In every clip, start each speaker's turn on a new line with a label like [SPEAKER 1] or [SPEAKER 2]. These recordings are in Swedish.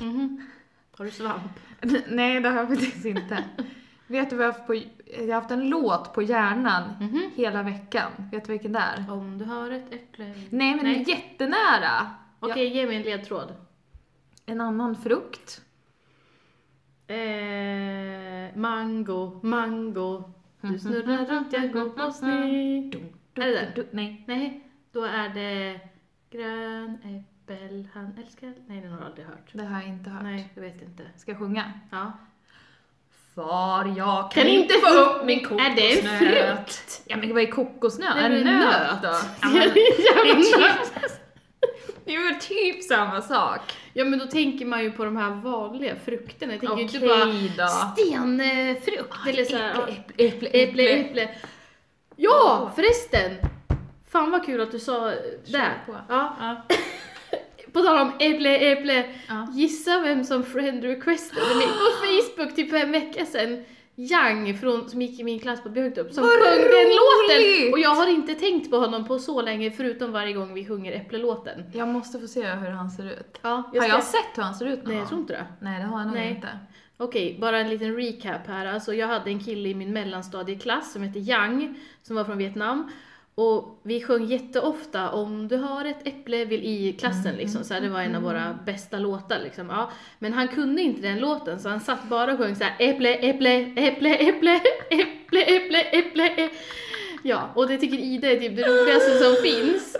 [SPEAKER 1] Mm-hmm. svamp.
[SPEAKER 2] Nej, det har jag faktiskt inte. Vet du vad jag har haft på... Jag har haft en låt på hjärnan
[SPEAKER 1] Mhm.
[SPEAKER 2] hela veckan. Vet du vilken det är?
[SPEAKER 1] Om du har ett äpple...
[SPEAKER 2] Nej, men
[SPEAKER 1] Nej.
[SPEAKER 2] den är jättenära!
[SPEAKER 1] Okej, ge mig en ledtråd.
[SPEAKER 2] En annan frukt.
[SPEAKER 1] Eh, mango, mango. Du snurrar runt, jag går på sned. Är det där?
[SPEAKER 2] Du- Nej.
[SPEAKER 1] Nej, då är det grön äppel, han älskar... Nej, den har jag aldrig hört.
[SPEAKER 2] Det har jag inte hört.
[SPEAKER 1] Nej, jag vet inte.
[SPEAKER 2] Ska jag sjunga?
[SPEAKER 1] Ja.
[SPEAKER 2] Far, jag
[SPEAKER 1] Kan inte få upp min kokosnöt.
[SPEAKER 2] Är det en frukt? Ja men vad är kokosnöt?
[SPEAKER 1] Nej,
[SPEAKER 2] Är det
[SPEAKER 1] men en
[SPEAKER 2] nöt då? Ja,
[SPEAKER 1] Ja,
[SPEAKER 2] men,
[SPEAKER 1] det är
[SPEAKER 2] det, är
[SPEAKER 1] jävla-
[SPEAKER 2] typ, det är väl typ samma sak.
[SPEAKER 1] ja, men då tänker man ju på de här vanliga frukterna. Jag tänker ju inte
[SPEAKER 2] Okej
[SPEAKER 1] bara
[SPEAKER 2] då.
[SPEAKER 1] stenfrukt eller så här. ja.
[SPEAKER 2] Äpple, äpple,
[SPEAKER 1] Äpple,
[SPEAKER 2] äpple. äpple.
[SPEAKER 1] äpple. Ja, förresten! Fan vad kul att du sa det.
[SPEAKER 2] på.
[SPEAKER 1] Ja.
[SPEAKER 2] Ja.
[SPEAKER 1] På tal om äpple, äpple.
[SPEAKER 2] Ja.
[SPEAKER 1] Gissa vem som friend requestade mig på Facebook typ för en vecka sedan. Yang från, som gick i min klass på Björktorp som
[SPEAKER 2] Vad
[SPEAKER 1] sjöng den låten!
[SPEAKER 2] roligt!
[SPEAKER 1] Och jag har inte tänkt på honom på så länge förutom varje gång vi sjunger Äpple-låten.
[SPEAKER 2] Jag måste få se hur han ser ut.
[SPEAKER 1] Ja,
[SPEAKER 2] har
[SPEAKER 1] ska-
[SPEAKER 2] jag sett hur han ser ut någon
[SPEAKER 1] Nej, jag tror
[SPEAKER 2] gång?
[SPEAKER 1] inte det.
[SPEAKER 2] Nej det har jag nog
[SPEAKER 1] Nej.
[SPEAKER 2] inte.
[SPEAKER 1] Okej, bara en liten recap här. Alltså jag hade en kille i min mellanstadieklass som hette Yang, som var från Vietnam. Och vi sjöng jätteofta om du har ett äpple vill i klassen liksom. Så här, det var en av våra bästa låtar liksom. Ja. Men han kunde inte den låten så han satt bara och sjöng så här äpple, äpple, äpple, äpple, äpple, äpple, äpple. ä-" Ja, och det tycker Ida är typ det roligaste som finns.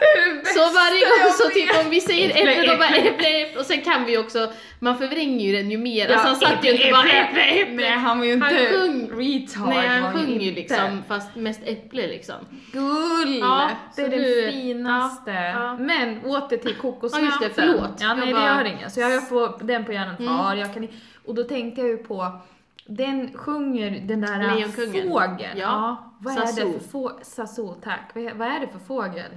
[SPEAKER 1] Så varje gång så typ om vi säger
[SPEAKER 2] Äpple,
[SPEAKER 1] äpple, då bara äpple, äpple. Och sen kan vi också, man förvränger ju den ju mer.
[SPEAKER 2] Ja,
[SPEAKER 1] alltså han satt ju inte
[SPEAKER 2] äpple,
[SPEAKER 1] bara
[SPEAKER 2] äpple.
[SPEAKER 1] äpple, äpple.
[SPEAKER 2] Nej han var ju inte
[SPEAKER 1] Han sjöng-
[SPEAKER 2] retard.
[SPEAKER 1] Nej,
[SPEAKER 2] var
[SPEAKER 1] han
[SPEAKER 2] han
[SPEAKER 1] sjöng ju
[SPEAKER 2] inte.
[SPEAKER 1] liksom, fast mest äpple liksom.
[SPEAKER 2] Gull!
[SPEAKER 1] Ja,
[SPEAKER 2] det är det
[SPEAKER 1] så nu-
[SPEAKER 2] finaste.
[SPEAKER 1] ja, ja.
[SPEAKER 2] Men åter till kokosnöten.
[SPEAKER 1] Ja, just det, förlåt.
[SPEAKER 2] Ja, nej
[SPEAKER 1] Jag
[SPEAKER 2] det
[SPEAKER 1] bara- Mm.
[SPEAKER 2] gör inget. Så jag jag får den på hjärnan. Far, jag kan... i- Och då tänkte jag ju på, den sjunger den där äh,
[SPEAKER 1] Lejonkungen.
[SPEAKER 2] fågeln.
[SPEAKER 1] Ja.
[SPEAKER 2] Vad är
[SPEAKER 1] Sasu.
[SPEAKER 2] det för fågel? Sasu, tack. Vad är, vad är det för fågel? Är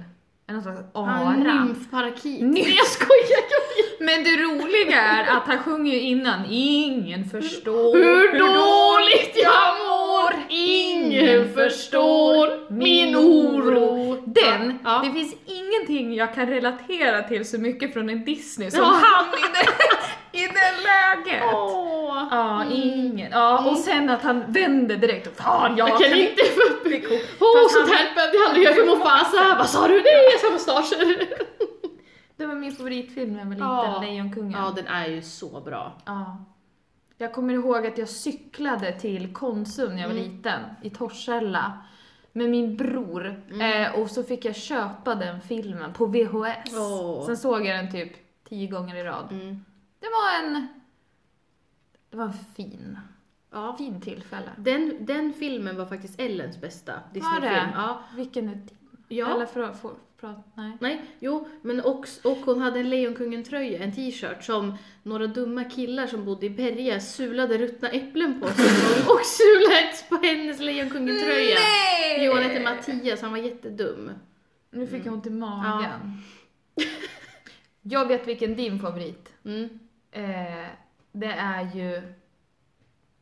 [SPEAKER 2] det någon slags
[SPEAKER 1] Ah,
[SPEAKER 2] ara?
[SPEAKER 1] Nymfparakit.
[SPEAKER 2] Nymf.
[SPEAKER 1] Nej jag skojar! jag vet.
[SPEAKER 2] Men det roliga är att han sjunger ju innan, ingen förstår
[SPEAKER 1] Hur dåligt jag mår! Ingen förstår min oro.
[SPEAKER 2] Den,
[SPEAKER 1] Ja.
[SPEAKER 2] det finns ingenting jag kan relatera till så mycket från en Disney som
[SPEAKER 1] Ja.
[SPEAKER 2] han i det, i det läget. Ja,
[SPEAKER 1] Åh.
[SPEAKER 2] ingen. Ja, och sen att han vänder direkt och fan jag,
[SPEAKER 1] Mm. Jag kan inte få upp
[SPEAKER 2] inte ko-
[SPEAKER 1] Åh,
[SPEAKER 2] Fast
[SPEAKER 1] sånt
[SPEAKER 2] han-
[SPEAKER 1] här behövde jag aldrig göra för Mufasa! Vad sa du? Nej, jag sa mustascher!
[SPEAKER 2] Det var min favoritfilm när jag var liten,
[SPEAKER 1] Ja.
[SPEAKER 2] Lejonkungen.
[SPEAKER 1] Ja,
[SPEAKER 2] Ja.
[SPEAKER 1] den är ju så bra.
[SPEAKER 2] Jag kommer ihåg att jag cyklade till Konsum när jag var
[SPEAKER 1] Mm.
[SPEAKER 2] liten, i Torshälla. Med min bror.
[SPEAKER 1] Mm.
[SPEAKER 2] Eh, och så fick jag köpa den filmen på VHS.
[SPEAKER 1] Åh.
[SPEAKER 2] Sen såg jag den typ tio gånger i rad.
[SPEAKER 1] Mm.
[SPEAKER 2] Det var en... Det var en fin,
[SPEAKER 1] Ja.
[SPEAKER 2] fin tillfälle.
[SPEAKER 1] Den, den filmen var faktiskt Ellens bästa Disneyfilm.
[SPEAKER 2] det?
[SPEAKER 1] Ja.
[SPEAKER 2] Vilken är din?
[SPEAKER 1] ja.
[SPEAKER 2] Eller för, för, för, nej.
[SPEAKER 1] Nej, jo, men också, och hon hade en Lejonkungen-tröja, en t-shirt som några dumma killar som bodde i Berga sulade ruttna äpplen på sig och sulade ett på hennes Lejonkungen-tröja.
[SPEAKER 2] Nej!
[SPEAKER 1] Jo, han hette Mattias, han var jättedum.
[SPEAKER 2] Nu fick jag ont i
[SPEAKER 1] Mm.
[SPEAKER 2] magen. jag vet vilken din favorit
[SPEAKER 1] Mm.
[SPEAKER 2] eh, Det är ju...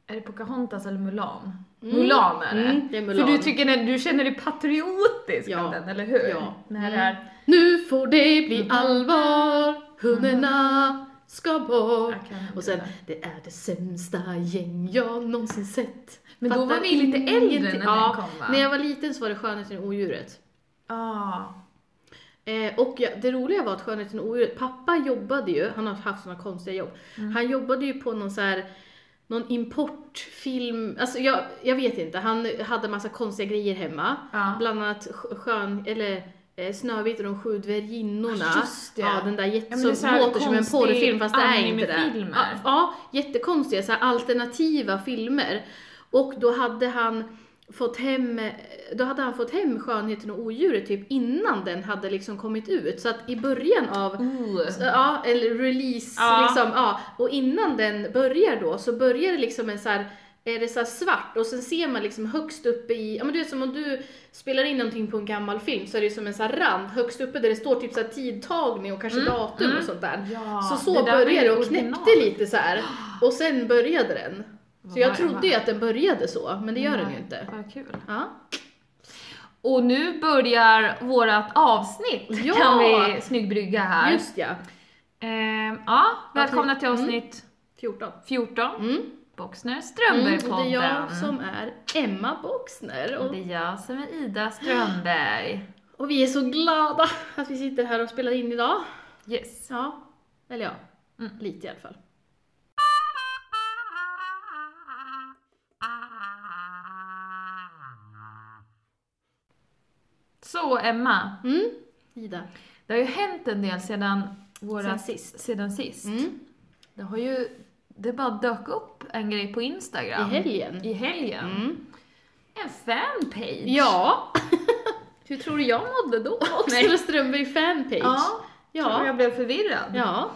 [SPEAKER 2] Är det Pocahontas eller Mulan? Mulan är det.
[SPEAKER 1] Mm, det är Mulan.
[SPEAKER 2] För du, tycker, den- du känner dig patriotisk
[SPEAKER 1] Ja.
[SPEAKER 2] av den, eller hur?
[SPEAKER 1] Ja.
[SPEAKER 2] När det
[SPEAKER 1] Mm.
[SPEAKER 2] är...
[SPEAKER 1] Nu får det bli
[SPEAKER 2] Mm.
[SPEAKER 1] allvar, hundarna ska bort.
[SPEAKER 2] Jag kan inte
[SPEAKER 1] Och sen,
[SPEAKER 2] det.
[SPEAKER 1] det är det sämsta gäng jag någonsin sett.
[SPEAKER 2] Men då
[SPEAKER 1] Fattar
[SPEAKER 2] var vi lite äldre när den
[SPEAKER 1] ja,
[SPEAKER 2] kom, va?
[SPEAKER 1] När jag var liten så var det Skönheten och odjuret.
[SPEAKER 2] Ah.
[SPEAKER 1] Eh, och jag, det roliga var att Skönheten och odjuret, pappa jobbade ju, han har haft såna konstiga jobb, han jobbade ju på någon så här någon importfilm, alltså jag, jag vet inte, han hade massa konstiga grejer hemma.
[SPEAKER 2] Ja.
[SPEAKER 1] Bland annat sk- skön, eller eh, Snövit och de sju dvärginnorna.
[SPEAKER 2] Ah, just det.
[SPEAKER 1] Ja, den där jätte,
[SPEAKER 2] Ja, men det är
[SPEAKER 1] som
[SPEAKER 2] så här
[SPEAKER 1] låter som en
[SPEAKER 2] konstig
[SPEAKER 1] porrfilm fast det är inte det.
[SPEAKER 2] animefilmer.
[SPEAKER 1] Ja, ja, jättekonstiga så här alternativa filmer. Och då hade han fått hem, då hade han fått hem Skönheten och odjuret typ innan den hade liksom kommit ut. Så att i början av
[SPEAKER 2] Uh.
[SPEAKER 1] så, Ja, eller release
[SPEAKER 2] Ja.
[SPEAKER 1] liksom. Ja. Och innan den börjar då så börjar det liksom en så här är det så här svart och sen ser man liksom högst uppe i, ja men du vet som om du spelar in någonting på en gammal film så är det som en så här rand högst uppe där det står typ så här tidtagning och kanske datum och sånt där.
[SPEAKER 2] Mm. Ja,
[SPEAKER 1] så
[SPEAKER 2] det
[SPEAKER 1] så
[SPEAKER 2] där var ju
[SPEAKER 1] började det och
[SPEAKER 2] original.
[SPEAKER 1] knäppte lite så här och sen började den. Så jag
[SPEAKER 2] Vad-
[SPEAKER 1] trodde ju att den började så, men det gör den ju
[SPEAKER 2] Nej,
[SPEAKER 1] inte.
[SPEAKER 2] Mm. Vad kul.
[SPEAKER 1] Ja.
[SPEAKER 2] Och nu börjar vårat avsnitt,
[SPEAKER 1] Ja!
[SPEAKER 2] kan vi snygg brygga här.
[SPEAKER 1] Just Mm. ja.
[SPEAKER 2] Ehm, ja, välkomna till avsnitt
[SPEAKER 1] 14.
[SPEAKER 2] 14.
[SPEAKER 1] Mm.
[SPEAKER 2] Boxner
[SPEAKER 1] Mm,
[SPEAKER 2] Strömberg
[SPEAKER 1] och det är jag
[SPEAKER 2] podden.
[SPEAKER 1] som är Emma Boxner.
[SPEAKER 2] Och
[SPEAKER 1] Och,
[SPEAKER 2] det är jag som är Ida Strömberg.
[SPEAKER 1] och vi är så glada att vi sitter här och spelar in idag.
[SPEAKER 2] Yes.
[SPEAKER 1] Ja, eller ja,
[SPEAKER 2] Mm.
[SPEAKER 1] lite i alla fall.
[SPEAKER 2] Så Emma,
[SPEAKER 1] Mm. Ida.
[SPEAKER 2] det har ju hänt en del sedan våra...
[SPEAKER 1] Sen sist.
[SPEAKER 2] Sedan sist.
[SPEAKER 1] Mm.
[SPEAKER 2] Det har ju... Det bara dök upp en grej på Instagram.
[SPEAKER 1] I helgen.
[SPEAKER 2] I helgen.
[SPEAKER 1] Mm.
[SPEAKER 2] En fanpage!
[SPEAKER 1] Ja! Hur tror du jag mådde då? Oxner och Strömberg fanpage.
[SPEAKER 2] Ja,
[SPEAKER 1] Ja.
[SPEAKER 2] tror jag blev förvirrad.
[SPEAKER 1] Ja,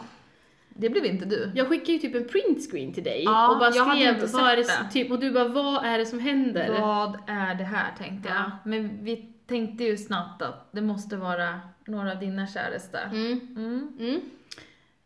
[SPEAKER 2] Det blev inte du.
[SPEAKER 1] jag skickade ju typ en printscreen till dig
[SPEAKER 2] Ja,
[SPEAKER 1] och bara
[SPEAKER 2] jag hade
[SPEAKER 1] skrev
[SPEAKER 2] inte
[SPEAKER 1] vad är det,
[SPEAKER 2] sett
[SPEAKER 1] som- typ, och du bara vad är det som händer?
[SPEAKER 2] Vad är det här tänkte jag.
[SPEAKER 1] Ja.
[SPEAKER 2] Men vi tänkte ju snabbt att det måste vara några av dina käraste.
[SPEAKER 1] Mm,
[SPEAKER 2] Mm.
[SPEAKER 1] mm.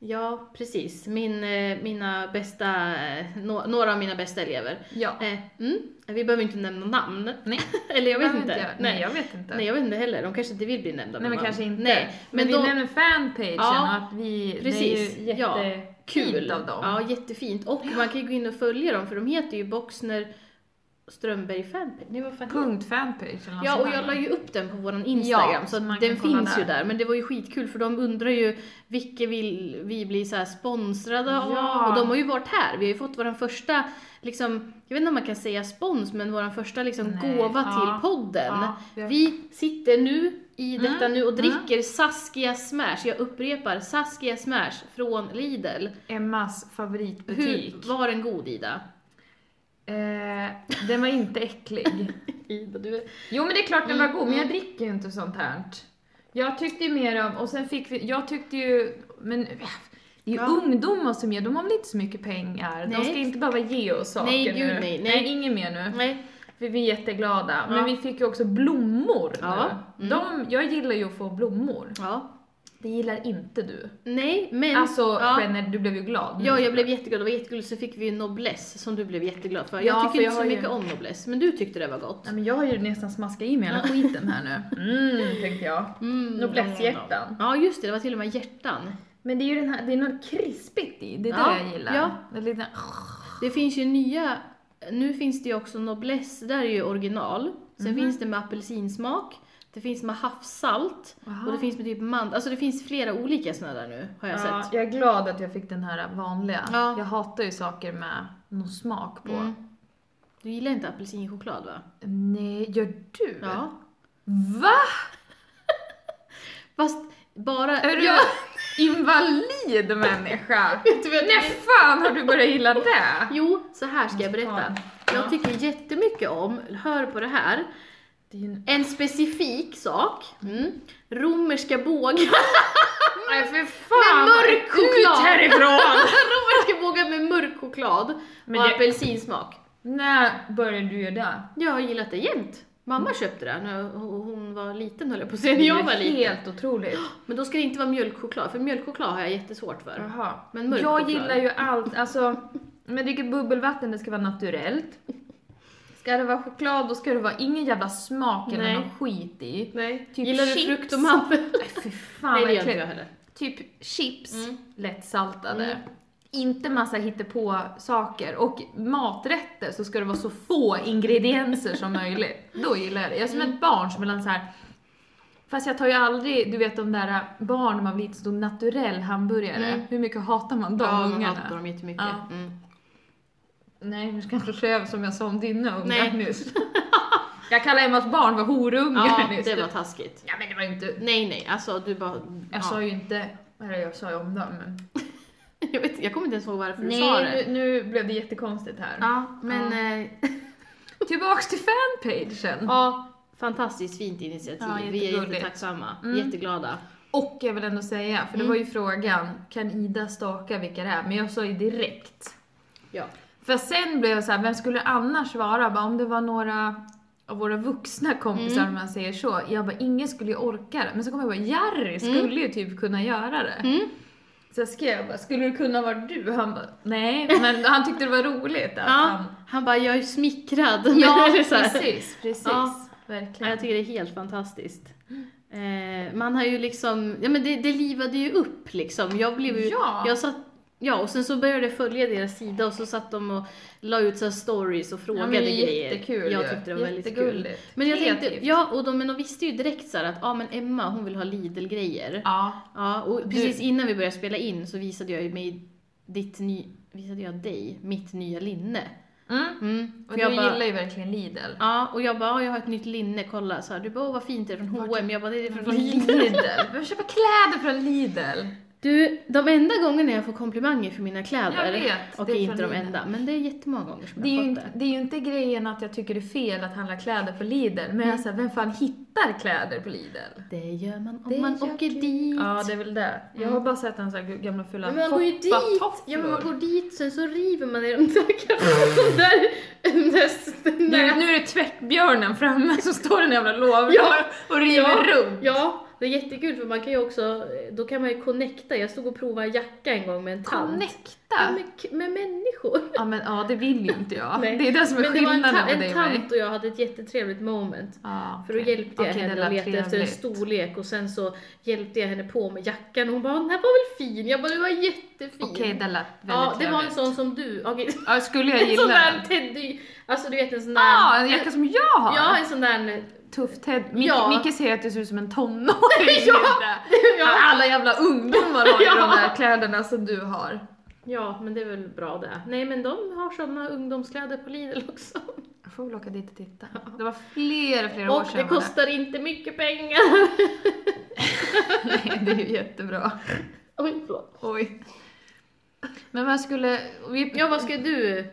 [SPEAKER 1] Ja, precis. Min, eh, mina bästa, eh, nå- några av mina bästa elever.
[SPEAKER 2] Ja.
[SPEAKER 1] Eh, mm. Vi behöver inte nämna namn.
[SPEAKER 2] Nej,
[SPEAKER 1] Eller jag vet
[SPEAKER 2] behöver
[SPEAKER 1] inte.
[SPEAKER 2] göra. Nej.
[SPEAKER 1] Nej.
[SPEAKER 2] jag vet inte.
[SPEAKER 1] Nej, jag vet inte heller. De kanske inte vill bli nämnda.
[SPEAKER 2] Nej,
[SPEAKER 1] med
[SPEAKER 2] men
[SPEAKER 1] namn.
[SPEAKER 2] kanske inte.
[SPEAKER 1] Nej,
[SPEAKER 2] men
[SPEAKER 1] men,
[SPEAKER 2] vi
[SPEAKER 1] de...
[SPEAKER 2] nämner fanpagen
[SPEAKER 1] Ja,
[SPEAKER 2] och att vi,
[SPEAKER 1] precis.
[SPEAKER 2] det är ju
[SPEAKER 1] Ja,
[SPEAKER 2] jättekul av dem.
[SPEAKER 1] Ja, jättefint. Och man kan ju gå in och följa dem för de heter ju Boxner Strömberg Fanpage. Nej, vad fan heter
[SPEAKER 2] Punkt fanpage eller något
[SPEAKER 1] Ja,
[SPEAKER 2] sånt
[SPEAKER 1] och
[SPEAKER 2] där.
[SPEAKER 1] jag la ju upp den på våran Instagram
[SPEAKER 2] Ja,
[SPEAKER 1] så
[SPEAKER 2] så man
[SPEAKER 1] att
[SPEAKER 2] kan
[SPEAKER 1] den
[SPEAKER 2] kolla
[SPEAKER 1] finns ju
[SPEAKER 2] där.
[SPEAKER 1] där. Men det var ju skitkul för de undrar ju vilka vill vi bli så här sponsrade
[SPEAKER 2] Ja.
[SPEAKER 1] av? Och de har ju varit här. Vi har ju fått vår första, liksom, jag vet inte om man kan säga spons, men vår första liksom,
[SPEAKER 2] Nej,
[SPEAKER 1] gåva
[SPEAKER 2] ja.
[SPEAKER 1] till podden.
[SPEAKER 2] Ja, vi har-
[SPEAKER 1] Vi sitter nu i detta
[SPEAKER 2] Mm,
[SPEAKER 1] nu och
[SPEAKER 2] mm.
[SPEAKER 1] dricker Saskia Smash. Jag upprepar, Saskia Smash från Lidl.
[SPEAKER 2] Emmas favoritbutik.
[SPEAKER 1] Hur, var den god Ida?
[SPEAKER 2] Eh, den var inte äcklig.
[SPEAKER 1] Ida, du
[SPEAKER 2] Jo men det är klart den var
[SPEAKER 1] Mm,
[SPEAKER 2] god, men jag
[SPEAKER 1] mm.
[SPEAKER 2] dricker ju inte sånt här. Jag tyckte ju mer om, och sen fick vi, jag tyckte ju, men äh, det är ju
[SPEAKER 1] Ja.
[SPEAKER 2] ungdomar som ger, de har väl inte så mycket pengar? De
[SPEAKER 1] Nej.
[SPEAKER 2] ska inte behöva ge oss saker
[SPEAKER 1] Nej,
[SPEAKER 2] nu.
[SPEAKER 1] gud, nej, nej.
[SPEAKER 2] inget mer nu.
[SPEAKER 1] Nej.
[SPEAKER 2] För vi är jätteglada.
[SPEAKER 1] Ja.
[SPEAKER 2] Men vi fick ju också blommor
[SPEAKER 1] Ja,
[SPEAKER 2] nu.
[SPEAKER 1] mm.
[SPEAKER 2] De, jag gillar ju att få blommor.
[SPEAKER 1] Ja.
[SPEAKER 2] Det gillar inte du.
[SPEAKER 1] Nej, men...
[SPEAKER 2] alltså,
[SPEAKER 1] ja.
[SPEAKER 2] Jenny, du blev ju glad. nu.
[SPEAKER 1] Ja, jag blev jätteglad. Det var jättegulligt. Så fick vi ju Noblesse som du blev jätteglad för. Jag
[SPEAKER 2] Ja,
[SPEAKER 1] tycker
[SPEAKER 2] för
[SPEAKER 1] inte
[SPEAKER 2] jag
[SPEAKER 1] så
[SPEAKER 2] har ju-
[SPEAKER 1] mycket om Noblesse, men du tyckte det var gott.
[SPEAKER 2] Nej, men jag har ju nästan smaskat i mig hela skiten här nu. Mm, tänkte jag.
[SPEAKER 1] Mm,
[SPEAKER 2] Noblesse-hjärtan.
[SPEAKER 1] Ja, just det. Det var till och med hjärtan.
[SPEAKER 2] Men det är ju den här, det är något krispigt i, det är
[SPEAKER 1] Ja,
[SPEAKER 2] det jag gillar.
[SPEAKER 1] ja.
[SPEAKER 2] Det är lite,
[SPEAKER 1] Det finns ju nya... Nu finns det ju också Noblesse, där är ju original. Sen
[SPEAKER 2] Mhm.
[SPEAKER 1] finns det med apelsinsmak. Det finns med havssalt.
[SPEAKER 2] Aha.
[SPEAKER 1] Och det finns med typ mandel. Alltså det finns flera olika såna där nu, har jag
[SPEAKER 2] ja,
[SPEAKER 1] sett.
[SPEAKER 2] jag är glad att jag fick den här vanliga.
[SPEAKER 1] Ja.
[SPEAKER 2] Jag hatar ju saker med någon smak på.
[SPEAKER 1] Mm. Du gillar inte apelsinchoklad va?
[SPEAKER 2] Nej, gör du?
[SPEAKER 1] Ja.
[SPEAKER 2] Va?
[SPEAKER 1] Fast bara...
[SPEAKER 2] Är du
[SPEAKER 1] Ja,
[SPEAKER 2] invalid människa?
[SPEAKER 1] vet du vad jag
[SPEAKER 2] Nej fan har du börjat gilla det?
[SPEAKER 1] Jo, så här ska jag berätta.
[SPEAKER 2] Ja.
[SPEAKER 1] Jag tycker jättemycket om, hör på det här,
[SPEAKER 2] Det är ju en...
[SPEAKER 1] en specifik sak. Mm. Romerska bågar.
[SPEAKER 2] Nej för
[SPEAKER 1] Med
[SPEAKER 2] fan!
[SPEAKER 1] mörk choklad.
[SPEAKER 2] Ut härifrån!
[SPEAKER 1] Romerska bågar med mörk choklad
[SPEAKER 2] Men
[SPEAKER 1] och
[SPEAKER 2] det-
[SPEAKER 1] apelsinsmak.
[SPEAKER 2] När började du göra det?
[SPEAKER 1] Jag har gillat det jämt. Mamma köpte det när hon var liten höll jag på att säga,
[SPEAKER 2] Det är
[SPEAKER 1] när
[SPEAKER 2] ju
[SPEAKER 1] jag var liten.
[SPEAKER 2] Helt otroligt.
[SPEAKER 1] Men då ska det inte vara mjölkchoklad, för mjölkchoklad har jag jättesvårt för.
[SPEAKER 2] Jaha.
[SPEAKER 1] Men mörk
[SPEAKER 2] jag
[SPEAKER 1] choklad.
[SPEAKER 2] gillar ju allt, alltså om jag dricker bubbelvatten det ska vara naturellt. Ska det vara choklad då ska det vara ingen jävla smak eller
[SPEAKER 1] Nej.
[SPEAKER 2] någon skit i.
[SPEAKER 1] Nej.
[SPEAKER 2] Typ
[SPEAKER 1] gillar du
[SPEAKER 2] chips?
[SPEAKER 1] frukt och mandel?
[SPEAKER 2] Nej fy fan
[SPEAKER 1] Nej
[SPEAKER 2] vad
[SPEAKER 1] det gör inte jag
[SPEAKER 2] äckligt.
[SPEAKER 1] heller.
[SPEAKER 2] Typ chips,
[SPEAKER 1] Mm.
[SPEAKER 2] lättsaltade.
[SPEAKER 1] Mm.
[SPEAKER 2] Inte massa hittepå saker och maträtter så ska det vara så få ingredienser som möjligt. Då gillar jag det. Jag är som
[SPEAKER 1] Mm.
[SPEAKER 2] ett barn som mellan så här. Fast jag tar ju aldrig, du vet de där äh, barn när man var liten som tog naturell hamburgare.
[SPEAKER 1] Mm.
[SPEAKER 2] Hur mycket hatar man de
[SPEAKER 1] ja, man
[SPEAKER 2] ungarna?
[SPEAKER 1] hatar dem jättemycket.
[SPEAKER 2] Ja.
[SPEAKER 1] Mm.
[SPEAKER 2] Nej, nu ska jag inte säga som jag sa om dina ungar
[SPEAKER 1] Nej.
[SPEAKER 2] nyss. Jag kallade Emmas barn för horungar
[SPEAKER 1] ja
[SPEAKER 2] nyss.
[SPEAKER 1] det var taskigt.
[SPEAKER 2] Ja men det var ju inte...
[SPEAKER 1] Nej nej, alltså du bara...
[SPEAKER 2] Jag sa ju inte... Eller jag sa ju om dem men...
[SPEAKER 1] Jag, vet, jag kommer inte ens ihåg varför du sa det.
[SPEAKER 2] Nej, nu, nu blev det jättekonstigt här.
[SPEAKER 1] Ja, men... Eh,
[SPEAKER 2] Tillbaks till fanpagen.
[SPEAKER 1] ja, fantastiskt fint initiativ.
[SPEAKER 2] Ja,
[SPEAKER 1] Vi är
[SPEAKER 2] jättegulligt.
[SPEAKER 1] jättetacksamma.
[SPEAKER 2] Mm.
[SPEAKER 1] Jätteglada.
[SPEAKER 2] Och jag vill ändå säga, för det
[SPEAKER 1] Mm.
[SPEAKER 2] var ju frågan, kan Ida staka vilka det är? Men jag sa ju direkt.
[SPEAKER 1] Ja.
[SPEAKER 2] För sen blev jag så här, vem skulle annars vara? Bara, om det var några av våra vuxna kompisar
[SPEAKER 1] Mm.
[SPEAKER 2] om man säger så. Jag bara, ingen skulle ju orka det. Men så kom jag på, Jerry skulle ju typ kunna göra det.
[SPEAKER 1] Mm.
[SPEAKER 2] Så jag skrev bara, skulle det kunna vara du? Han bara, nej. Men han tyckte det var roligt att
[SPEAKER 1] Ja,
[SPEAKER 2] han...
[SPEAKER 1] han bara, jag är smickrad.
[SPEAKER 2] Ja,
[SPEAKER 1] Det är så här.
[SPEAKER 2] precis, precis.
[SPEAKER 1] Ja. Ja,
[SPEAKER 2] Verkligen.
[SPEAKER 1] jag tycker det är helt fantastiskt. Eh, man har ju liksom, ja men det, det livade ju upp liksom. Jag blev ju,
[SPEAKER 2] Ja.
[SPEAKER 1] jag satt Ja, och sen så började jag följa deras sida och så satt de och la ut så här stories och
[SPEAKER 2] Ja,
[SPEAKER 1] frågade
[SPEAKER 2] men det är
[SPEAKER 1] grejer.
[SPEAKER 2] jättekul
[SPEAKER 1] Jag
[SPEAKER 2] ju.
[SPEAKER 1] tyckte det var väldigt kul.
[SPEAKER 2] Jättegulligt.
[SPEAKER 1] Men jag tänkte,
[SPEAKER 2] Kreativt.
[SPEAKER 1] ja, och de, men de visste ju direkt så här att, ja ah, men Emma hon vill ha Lidl-grejer.
[SPEAKER 2] Ja.
[SPEAKER 1] Ja, och precis innan vi började spela in så visade jag ju mig ditt ny, visade jag dig mitt nya linne.
[SPEAKER 2] Mm.
[SPEAKER 1] Mm.
[SPEAKER 2] Och
[SPEAKER 1] för
[SPEAKER 2] du
[SPEAKER 1] jag bara-
[SPEAKER 2] gillar ju verkligen Lidl.
[SPEAKER 1] Ja, och jag bara, "Ja, jag har ett nytt linne, kolla. Så här, du bara, "Åh, vad fint det är från
[SPEAKER 2] Vart-
[SPEAKER 1] H&M. Jag bara, det är från
[SPEAKER 2] Från
[SPEAKER 1] Lidl.
[SPEAKER 2] Lidl. Vi behöver köpa kläder från Lidl.
[SPEAKER 1] Du, de enda gångerna jag får komplimanger för mina
[SPEAKER 2] Jag
[SPEAKER 1] kläder,
[SPEAKER 2] vet.
[SPEAKER 1] och
[SPEAKER 2] det är
[SPEAKER 1] inte
[SPEAKER 2] från
[SPEAKER 1] de
[SPEAKER 2] Lidl.
[SPEAKER 1] enda, men det är jättemånga gånger som
[SPEAKER 2] Det är,
[SPEAKER 1] jag
[SPEAKER 2] ju
[SPEAKER 1] har fått
[SPEAKER 2] inte, det
[SPEAKER 1] det.
[SPEAKER 2] är ju inte grejen att jag tycker det är fel att handla kläder på Lidl, men
[SPEAKER 1] Mm.
[SPEAKER 2] jag är såhär, vem fan hittar kläder på Lidl?
[SPEAKER 1] Det gör man om
[SPEAKER 2] Det
[SPEAKER 1] man
[SPEAKER 2] gör
[SPEAKER 1] åker
[SPEAKER 2] du.
[SPEAKER 1] dit.
[SPEAKER 2] Ja, det är väl det. Jag
[SPEAKER 1] Mm.
[SPEAKER 2] har bara sett en sån här gamla fula
[SPEAKER 1] men man går ju dit,
[SPEAKER 2] foppatofflor.
[SPEAKER 1] ja, men man går dit, sen så river man i de där de där, de där, de
[SPEAKER 2] Nu,
[SPEAKER 1] där.
[SPEAKER 2] nu är det tvättbjörnen framme som står i den jävla lådan
[SPEAKER 1] Ja.
[SPEAKER 2] och river
[SPEAKER 1] Ja.
[SPEAKER 2] runt.
[SPEAKER 1] Ja, det är jättekul för man kan ju också, då kan man ju connecta. Jag stod och provade en jacka en gång med en tant. Ja,
[SPEAKER 2] Connecta!
[SPEAKER 1] med, med människor.
[SPEAKER 2] Ja men ja, det vill ju inte jag.
[SPEAKER 1] Nej.
[SPEAKER 2] Det är det som är
[SPEAKER 1] Men det var en,
[SPEAKER 2] skillnaden
[SPEAKER 1] ta-
[SPEAKER 2] mellan dig
[SPEAKER 1] en
[SPEAKER 2] och mig.
[SPEAKER 1] tant och jag hade ett jättetrevligt moment.
[SPEAKER 2] Ja,
[SPEAKER 1] För då
[SPEAKER 2] okej.
[SPEAKER 1] hjälpte jag
[SPEAKER 2] Okej, det
[SPEAKER 1] henne
[SPEAKER 2] lät
[SPEAKER 1] att leta efter en
[SPEAKER 2] trevligt.
[SPEAKER 1] storlek och sen så hjälpte jag henne på med jackan och hon bara den här var väl fin? Jag bara den var jättefin.
[SPEAKER 2] Okej, det lät väldigt
[SPEAKER 1] ja, det var en
[SPEAKER 2] trevligt.
[SPEAKER 1] sån som du. Okej.
[SPEAKER 2] Ja, skulle jag
[SPEAKER 1] En
[SPEAKER 2] gilla
[SPEAKER 1] sån
[SPEAKER 2] den?
[SPEAKER 1] där teddy, alltså du vet en sån där.
[SPEAKER 2] Ja, en jacka som jag har!
[SPEAKER 1] ja, en sån där.
[SPEAKER 2] Tuff Ted. Mic-
[SPEAKER 1] Ja.
[SPEAKER 2] Micke säger att du ser ut som en tonåring.
[SPEAKER 1] Ja.
[SPEAKER 2] Alla jävla ungdomar har ju
[SPEAKER 1] Ja.
[SPEAKER 2] de där kläderna som du har.
[SPEAKER 1] ja, men det är väl bra det. Nej, men de har såna ungdomskläder på Lidl också.
[SPEAKER 2] Jag får väl åka dit och titta. Det var flera, flera år
[SPEAKER 1] Och
[SPEAKER 2] sedan
[SPEAKER 1] det
[SPEAKER 2] jag var där.
[SPEAKER 1] kostar inte mycket pengar.
[SPEAKER 2] Nej, det är ju jättebra.
[SPEAKER 1] Oj, förlåt.
[SPEAKER 2] Oj. Men vad skulle... Vi,
[SPEAKER 1] Ja, vad ska du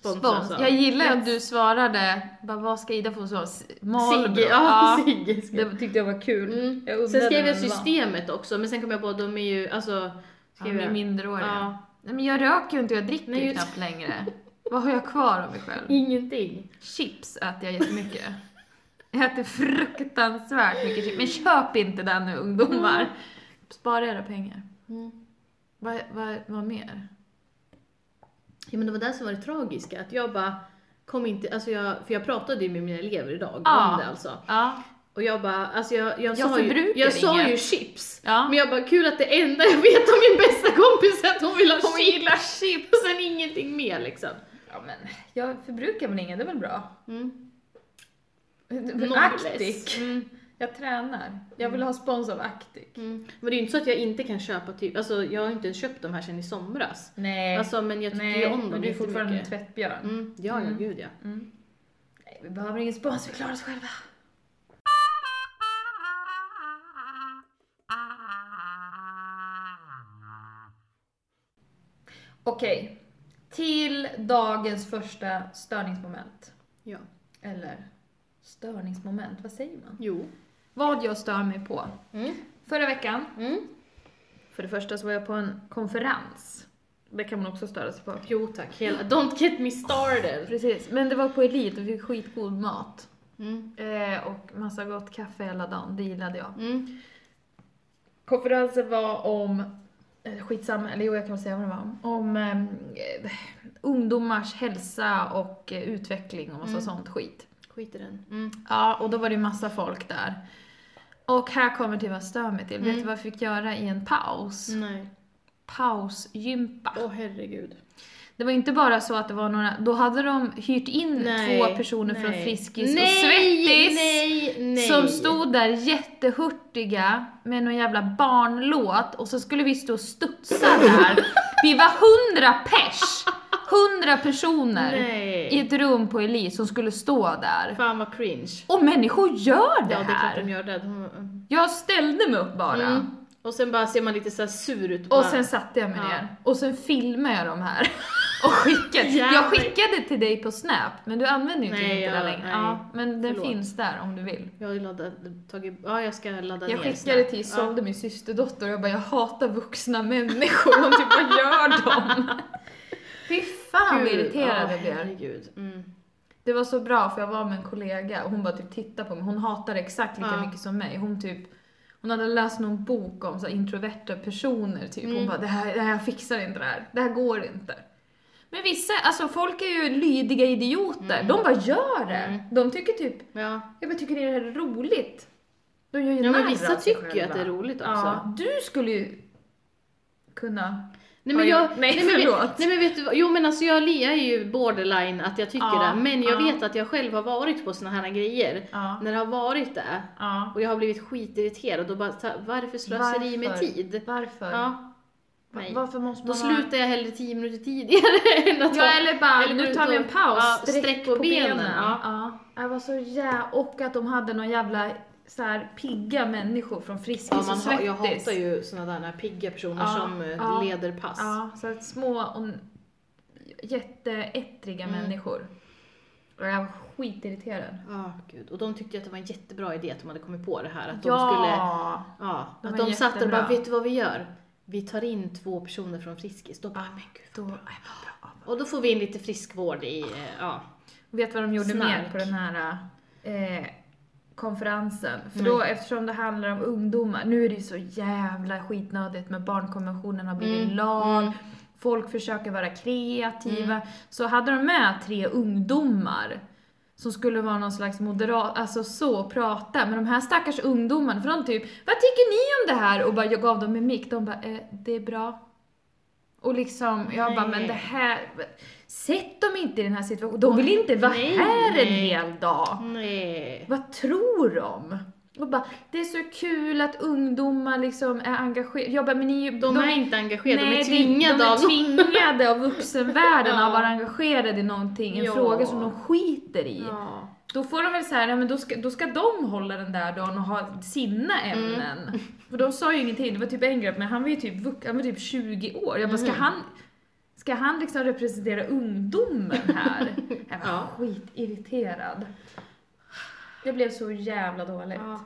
[SPEAKER 1] sponsra? alltså?
[SPEAKER 2] spons.
[SPEAKER 1] sa?
[SPEAKER 2] Jag gillar
[SPEAKER 1] Yes.
[SPEAKER 2] att du svarade, bara, vad ska Ida få så? Malbro?
[SPEAKER 1] Sigge, ja, Sigge ska
[SPEAKER 2] Det tyckte jag var kul.
[SPEAKER 1] Mm.
[SPEAKER 2] Jag undrade
[SPEAKER 1] Sen skrev jag
[SPEAKER 2] vem det var.
[SPEAKER 1] systemet också, men sen kom jag på att de är ju, alltså...
[SPEAKER 2] Ja,
[SPEAKER 1] Skrev
[SPEAKER 2] de är
[SPEAKER 1] jag.
[SPEAKER 2] minderåriga.
[SPEAKER 1] Ja.
[SPEAKER 2] Nej, men jag röker ju inte och jag dricker
[SPEAKER 1] Nej,
[SPEAKER 2] ju
[SPEAKER 1] just- Mm.
[SPEAKER 2] knappt längre. Vad har jag kvar av mig själv?
[SPEAKER 1] Ingenting.
[SPEAKER 2] Chips äter jag jättemycket. Jag äter fruktansvärt mycket chips. Men köp inte den nu ungdomar.
[SPEAKER 1] Mm.
[SPEAKER 2] Spara era pengar. Mm. Vad, vad, vad mer?
[SPEAKER 1] Ja, men det var det som var det tragiska, att jag bara kom inte, alltså jag, för jag pratade ju med mina elever idag
[SPEAKER 2] Ja.
[SPEAKER 1] om det alltså.
[SPEAKER 2] Ja.
[SPEAKER 1] Och jag bara, alltså jag, jag,
[SPEAKER 2] Jag
[SPEAKER 1] sa ju,
[SPEAKER 2] förbrukar
[SPEAKER 1] jag sa
[SPEAKER 2] inget.
[SPEAKER 1] ju chips.
[SPEAKER 2] Ja.
[SPEAKER 1] Men jag bara, kul att det enda jag vet om min bästa kompis är att hon vill ha
[SPEAKER 2] Hon
[SPEAKER 1] chips.
[SPEAKER 2] gillar chips.
[SPEAKER 1] Och sen ingenting mer liksom.
[SPEAKER 2] Ja, men jag förbrukar väl inget, det är väl bra.
[SPEAKER 1] Mm.
[SPEAKER 2] Actic. Mm.
[SPEAKER 1] Mm.
[SPEAKER 2] Jag tränar. Jag vill ha spons av Actic.
[SPEAKER 1] Mm. Men det är ju inte så att jag inte kan köpa typ, alltså jag har ju inte ens köpt de här sen i somras.
[SPEAKER 2] Nej.
[SPEAKER 1] Alltså men jag tycker ju
[SPEAKER 2] Nej,
[SPEAKER 1] om
[SPEAKER 2] men
[SPEAKER 1] dem
[SPEAKER 2] du är fortfarande en
[SPEAKER 1] jättemycket.
[SPEAKER 2] tvättbjörn.
[SPEAKER 1] Mm, ja, ja,
[SPEAKER 2] Mm.
[SPEAKER 1] gud ja.
[SPEAKER 2] Nej, vi behöver ingen spons, vi klarar oss själva. Okej, till dagens första störningsmoment.
[SPEAKER 1] ja.
[SPEAKER 2] Eller störningsmoment, vad säger man?
[SPEAKER 1] Jo.
[SPEAKER 2] Vad jag stör mig på.
[SPEAKER 1] Mm.
[SPEAKER 2] Förra veckan,
[SPEAKER 1] Mm.
[SPEAKER 2] för det första så var jag på en konferens. Det kan man också störa sig på.
[SPEAKER 1] Jo tack, hela, don't get me started.
[SPEAKER 2] Precis, men det var på Elit och vi fick skitgod mat.
[SPEAKER 1] Mm.
[SPEAKER 2] Eh, och massa gott kaffe hela dagen, det gillade jag.
[SPEAKER 1] Mm.
[SPEAKER 2] Konferensen var om, eh, skitsamma, eller jo jag kan väl säga vad det var om, om eh, ungdomars hälsa och eh, utveckling och massa
[SPEAKER 1] Mm.
[SPEAKER 2] sånt skit.
[SPEAKER 1] Skit i den. Mm.
[SPEAKER 2] Ja, och då var det ju massa folk där. Och här kommer till vad jag stör mig till. Vet
[SPEAKER 1] Mm.
[SPEAKER 2] du vad jag fick göra i en paus?
[SPEAKER 1] Nej.
[SPEAKER 2] Pausgympa.
[SPEAKER 1] Åh herregud.
[SPEAKER 2] Det var inte bara så att det var några, då hade de hyrt in
[SPEAKER 1] Nej.
[SPEAKER 2] två personer från
[SPEAKER 1] Nej.
[SPEAKER 2] Friskis
[SPEAKER 1] nej,
[SPEAKER 2] och Svettis.
[SPEAKER 1] Nej, nej.
[SPEAKER 2] Som stod där jättehurtiga med någon jävla barnlåt och så skulle vi stå och studsa där. Vi var hundra pers! Hundra personer
[SPEAKER 1] Nej.
[SPEAKER 2] i ett rum på Eli som skulle stå där.
[SPEAKER 1] Fan vad cringe.
[SPEAKER 2] Och människor gör
[SPEAKER 1] Ja
[SPEAKER 2] det
[SPEAKER 1] det är klart
[SPEAKER 2] här!
[SPEAKER 1] de gör det. De,
[SPEAKER 2] Jag ställde mig upp bara.
[SPEAKER 1] mm. Och sen bara ser man lite så här sur ut.
[SPEAKER 2] Och
[SPEAKER 1] bara.
[SPEAKER 2] sen satte jag mig
[SPEAKER 1] Ja.
[SPEAKER 2] ner. Och sen filmade jag de här. Och skickade. Jag
[SPEAKER 1] Jävlar.
[SPEAKER 2] skickade till dig på Snap, men du använder ju inte
[SPEAKER 1] Nej,
[SPEAKER 2] den inte där
[SPEAKER 1] jag-
[SPEAKER 2] längre.
[SPEAKER 1] nej.
[SPEAKER 2] Ja, men den
[SPEAKER 1] Förlåt.
[SPEAKER 2] finns där om du vill.
[SPEAKER 1] Jag har ju laddat, tagit, ja jag ska ladda
[SPEAKER 2] Jag
[SPEAKER 1] ner
[SPEAKER 2] skickade
[SPEAKER 1] snabbt.
[SPEAKER 2] till sålde min systerdotter och jag bara jag hatar vuxna människor, hon typ vad gör de? Fy fan vad
[SPEAKER 1] Gud,
[SPEAKER 2] irriterad
[SPEAKER 1] ja,
[SPEAKER 2] jag blev.
[SPEAKER 1] herregud. Mm.
[SPEAKER 2] Det var så bra för jag var med en kollega och hon bara typ tittade på mig, hon hatade exakt lika
[SPEAKER 1] Ja.
[SPEAKER 2] mycket som mig. Hon typ hon hade läst någon bok om så här introverta personer typ. Hon
[SPEAKER 1] Mm.
[SPEAKER 2] bara det här, det här, jag fixar inte det här, det här går inte. Men vissa, alltså folk är ju lydiga idioter,
[SPEAKER 1] Mm.
[SPEAKER 2] de bara gör det.
[SPEAKER 1] Mm.
[SPEAKER 2] De tycker typ,
[SPEAKER 1] Ja.
[SPEAKER 2] jag bara tycker ni det här är roligt? De gör ju
[SPEAKER 1] Ja men
[SPEAKER 2] narr av
[SPEAKER 1] vissa
[SPEAKER 2] sig
[SPEAKER 1] tycker ju att
[SPEAKER 2] själva.
[SPEAKER 1] det är roligt också.
[SPEAKER 2] Ja, du skulle ju kunna
[SPEAKER 1] Nej men
[SPEAKER 2] Oj,
[SPEAKER 1] jag...
[SPEAKER 2] nej,
[SPEAKER 1] men, vet-
[SPEAKER 2] förlåt.
[SPEAKER 1] Nej men vet du vad? Jo men alltså jag, jag är ju borderline att jag tycker
[SPEAKER 2] Ja,
[SPEAKER 1] det. Men jag
[SPEAKER 2] ja.
[SPEAKER 1] vet att jag själv har varit på såna här grejer.
[SPEAKER 2] Ja.
[SPEAKER 1] När det har varit det.
[SPEAKER 2] ja.
[SPEAKER 1] Och jag har blivit skitirriterad och bara ta- varför slöseri med
[SPEAKER 2] Varför?
[SPEAKER 1] tid?
[SPEAKER 2] Varför?
[SPEAKER 1] Ja.
[SPEAKER 2] Va-
[SPEAKER 1] Nej.
[SPEAKER 2] Varför måste
[SPEAKER 1] Då
[SPEAKER 2] man
[SPEAKER 1] slutar jag hellre 10 minuter tidigare än att
[SPEAKER 2] Ja
[SPEAKER 1] ha-
[SPEAKER 2] Alltså, eller bara,
[SPEAKER 1] eller
[SPEAKER 2] nu
[SPEAKER 1] ut
[SPEAKER 2] tar vi
[SPEAKER 1] och-
[SPEAKER 2] en paus,
[SPEAKER 1] ja, sträck på benen, ja.
[SPEAKER 2] Ja. Jag var så jä... Och att de hade någon jävla så här, pigga människor från Friskis
[SPEAKER 1] Ja,
[SPEAKER 2] och
[SPEAKER 1] man har,
[SPEAKER 2] Svettis.
[SPEAKER 1] jag hatar ju sådana där pigga personer
[SPEAKER 2] Ja,
[SPEAKER 1] som eh,
[SPEAKER 2] ja,
[SPEAKER 1] leder pass.
[SPEAKER 2] Ja, så att små och jätteättriga
[SPEAKER 1] Mm.
[SPEAKER 2] människor. Och jag var skitirriterad.
[SPEAKER 1] Ja, gud. Och de tyckte att det var en jättebra idé att de hade kommit på det här. Att
[SPEAKER 2] ja!
[SPEAKER 1] de skulle... Ja,
[SPEAKER 2] De
[SPEAKER 1] att
[SPEAKER 2] är
[SPEAKER 1] de satt där och bara,
[SPEAKER 2] jättebra.
[SPEAKER 1] vet du vad vi gör? Vi tar in två personer från Friskis. Då bara, "Ah,
[SPEAKER 2] Ja,
[SPEAKER 1] men gud.
[SPEAKER 2] Då, nej, vad bra.
[SPEAKER 1] Och då får vi in lite friskvård i, eh, ja.
[SPEAKER 2] Vet vad de gjorde
[SPEAKER 1] Snark.
[SPEAKER 2] mer på den här eh, konferensen? För
[SPEAKER 1] Nej.
[SPEAKER 2] då, eftersom det handlar om ungdomar, nu är det ju så jävla skitnödigt med barnkonventionen har blivit
[SPEAKER 1] Mm,
[SPEAKER 2] lag,
[SPEAKER 1] mm.
[SPEAKER 2] folk försöker vara kreativa, så hade de med tre ungdomar som skulle vara någon slags moderat, alltså så prata, men de här stackars ungdomarna, för de typ Vad tycker ni om det här? Och bara, jag gav dem en mick, de bara eh, det är bra. Och liksom, jag bara men
[SPEAKER 1] Nej.
[SPEAKER 2] det här, sätt dem inte i den här situationen, de vill inte vara
[SPEAKER 1] Nej,
[SPEAKER 2] här en
[SPEAKER 1] nej.
[SPEAKER 2] hel dag.
[SPEAKER 1] Nej.
[SPEAKER 2] Vad tror de? Och bara, det är så kul att ungdomar liksom är engagerade. Jag bara, men ni,
[SPEAKER 1] De, är inte engagerade, de är tvingade
[SPEAKER 2] de är
[SPEAKER 1] av
[SPEAKER 2] tvingade av vuxenvärlden
[SPEAKER 1] Ja.
[SPEAKER 2] att vara engagerade i någonting, en
[SPEAKER 1] Ja.
[SPEAKER 2] fråga som de skiter i.
[SPEAKER 1] Ja.
[SPEAKER 2] Då får de väl säga, nej men då ska, då ska de hålla den där dagen och ha sina
[SPEAKER 1] Mm.
[SPEAKER 2] ämnen. För de sa ju ingenting, det var typ en grupp, men han var ju typ, vux- han var typ 20 år. Jag bara, ska
[SPEAKER 1] Mhm.
[SPEAKER 2] han, ska han liksom representera ungdomen här? Jag var
[SPEAKER 1] Ja.
[SPEAKER 2] skitirriterad. Jag blev så jävla dåligt.
[SPEAKER 1] Ja.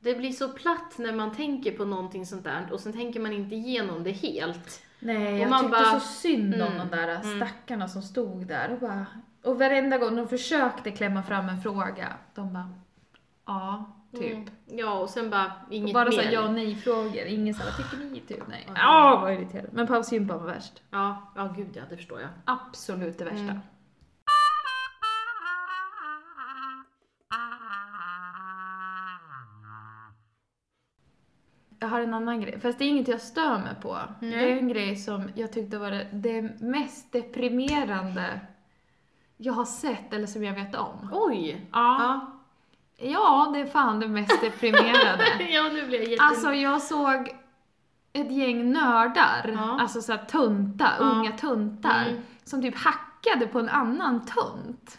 [SPEAKER 1] Det blir så platt när man tänker på någonting sånt där och sen tänker man inte igenom det helt.
[SPEAKER 2] Nej, jag
[SPEAKER 1] Och man
[SPEAKER 2] tyckte så
[SPEAKER 1] bara,
[SPEAKER 2] synd om
[SPEAKER 1] mm,
[SPEAKER 2] de där stackarna som stod där och bara... Och varenda gång de försökte klämma fram en fråga, de bara... Ja, typ.
[SPEAKER 1] Mm. Ja, och sen bara inget
[SPEAKER 2] bara
[SPEAKER 1] mer.
[SPEAKER 2] såhär ja och nej-frågor, ingen såhär vad tycker ni? Typ nej.
[SPEAKER 1] Ja.
[SPEAKER 2] Ja, vad irriterande. Men pausgympan var värst.
[SPEAKER 1] ja, ja, gud ja, det förstår jag.
[SPEAKER 2] Absolut det värsta.
[SPEAKER 1] Mm.
[SPEAKER 2] Jag har en annan grej, fast det är inget jag stör mig på.
[SPEAKER 1] Nej.
[SPEAKER 2] Det är en grej som jag tyckte var det, det mest deprimerande jag har sett eller som jag vet om.
[SPEAKER 1] Oj!
[SPEAKER 2] Ja,
[SPEAKER 1] Ja,
[SPEAKER 2] ja det är fan det mest deprimerande.
[SPEAKER 1] ja nu blir jag jätte...
[SPEAKER 2] Alltså jag såg ett gäng nördar,
[SPEAKER 1] Ja.
[SPEAKER 2] alltså såhär tunta,
[SPEAKER 1] Ja.
[SPEAKER 2] unga tuntar,
[SPEAKER 1] Mm.
[SPEAKER 2] som typ hackade på en annan tunt.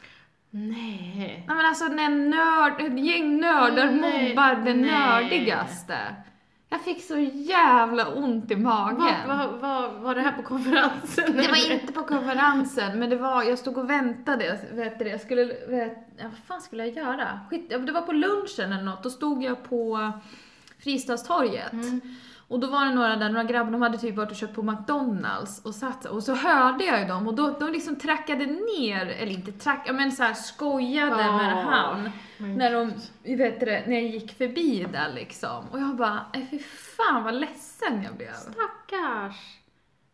[SPEAKER 1] Nej.
[SPEAKER 2] Nej men alltså när nörd, ett gäng nördar
[SPEAKER 1] Mm, nej,
[SPEAKER 2] mobbar den
[SPEAKER 1] nej.
[SPEAKER 2] nördigaste. Jag fick så jävla ont i magen.
[SPEAKER 1] Vad va, va, var det här på konferensen?
[SPEAKER 2] Det var inte på konferensen, men det var, jag stod och väntade, jag vet du det, jag skulle, vet, ja, vad fan skulle jag göra? Skit, ja, det var på lunchen eller något, då stod jag på Fristadstorget.
[SPEAKER 1] Mm.
[SPEAKER 2] Och då var det några där, några grabbar, de hade typ varit och köpt på McDonalds och satt och så hörde jag ju dem och då, de liksom trackade ner, eller inte track, ja, men så här skojade
[SPEAKER 1] Ja.
[SPEAKER 2] med han.
[SPEAKER 1] Men
[SPEAKER 2] När de, vet du det, när jag gick förbi där liksom. Och jag bara, "Nej, fy fan vad ledsen jag blev.
[SPEAKER 1] Stackars!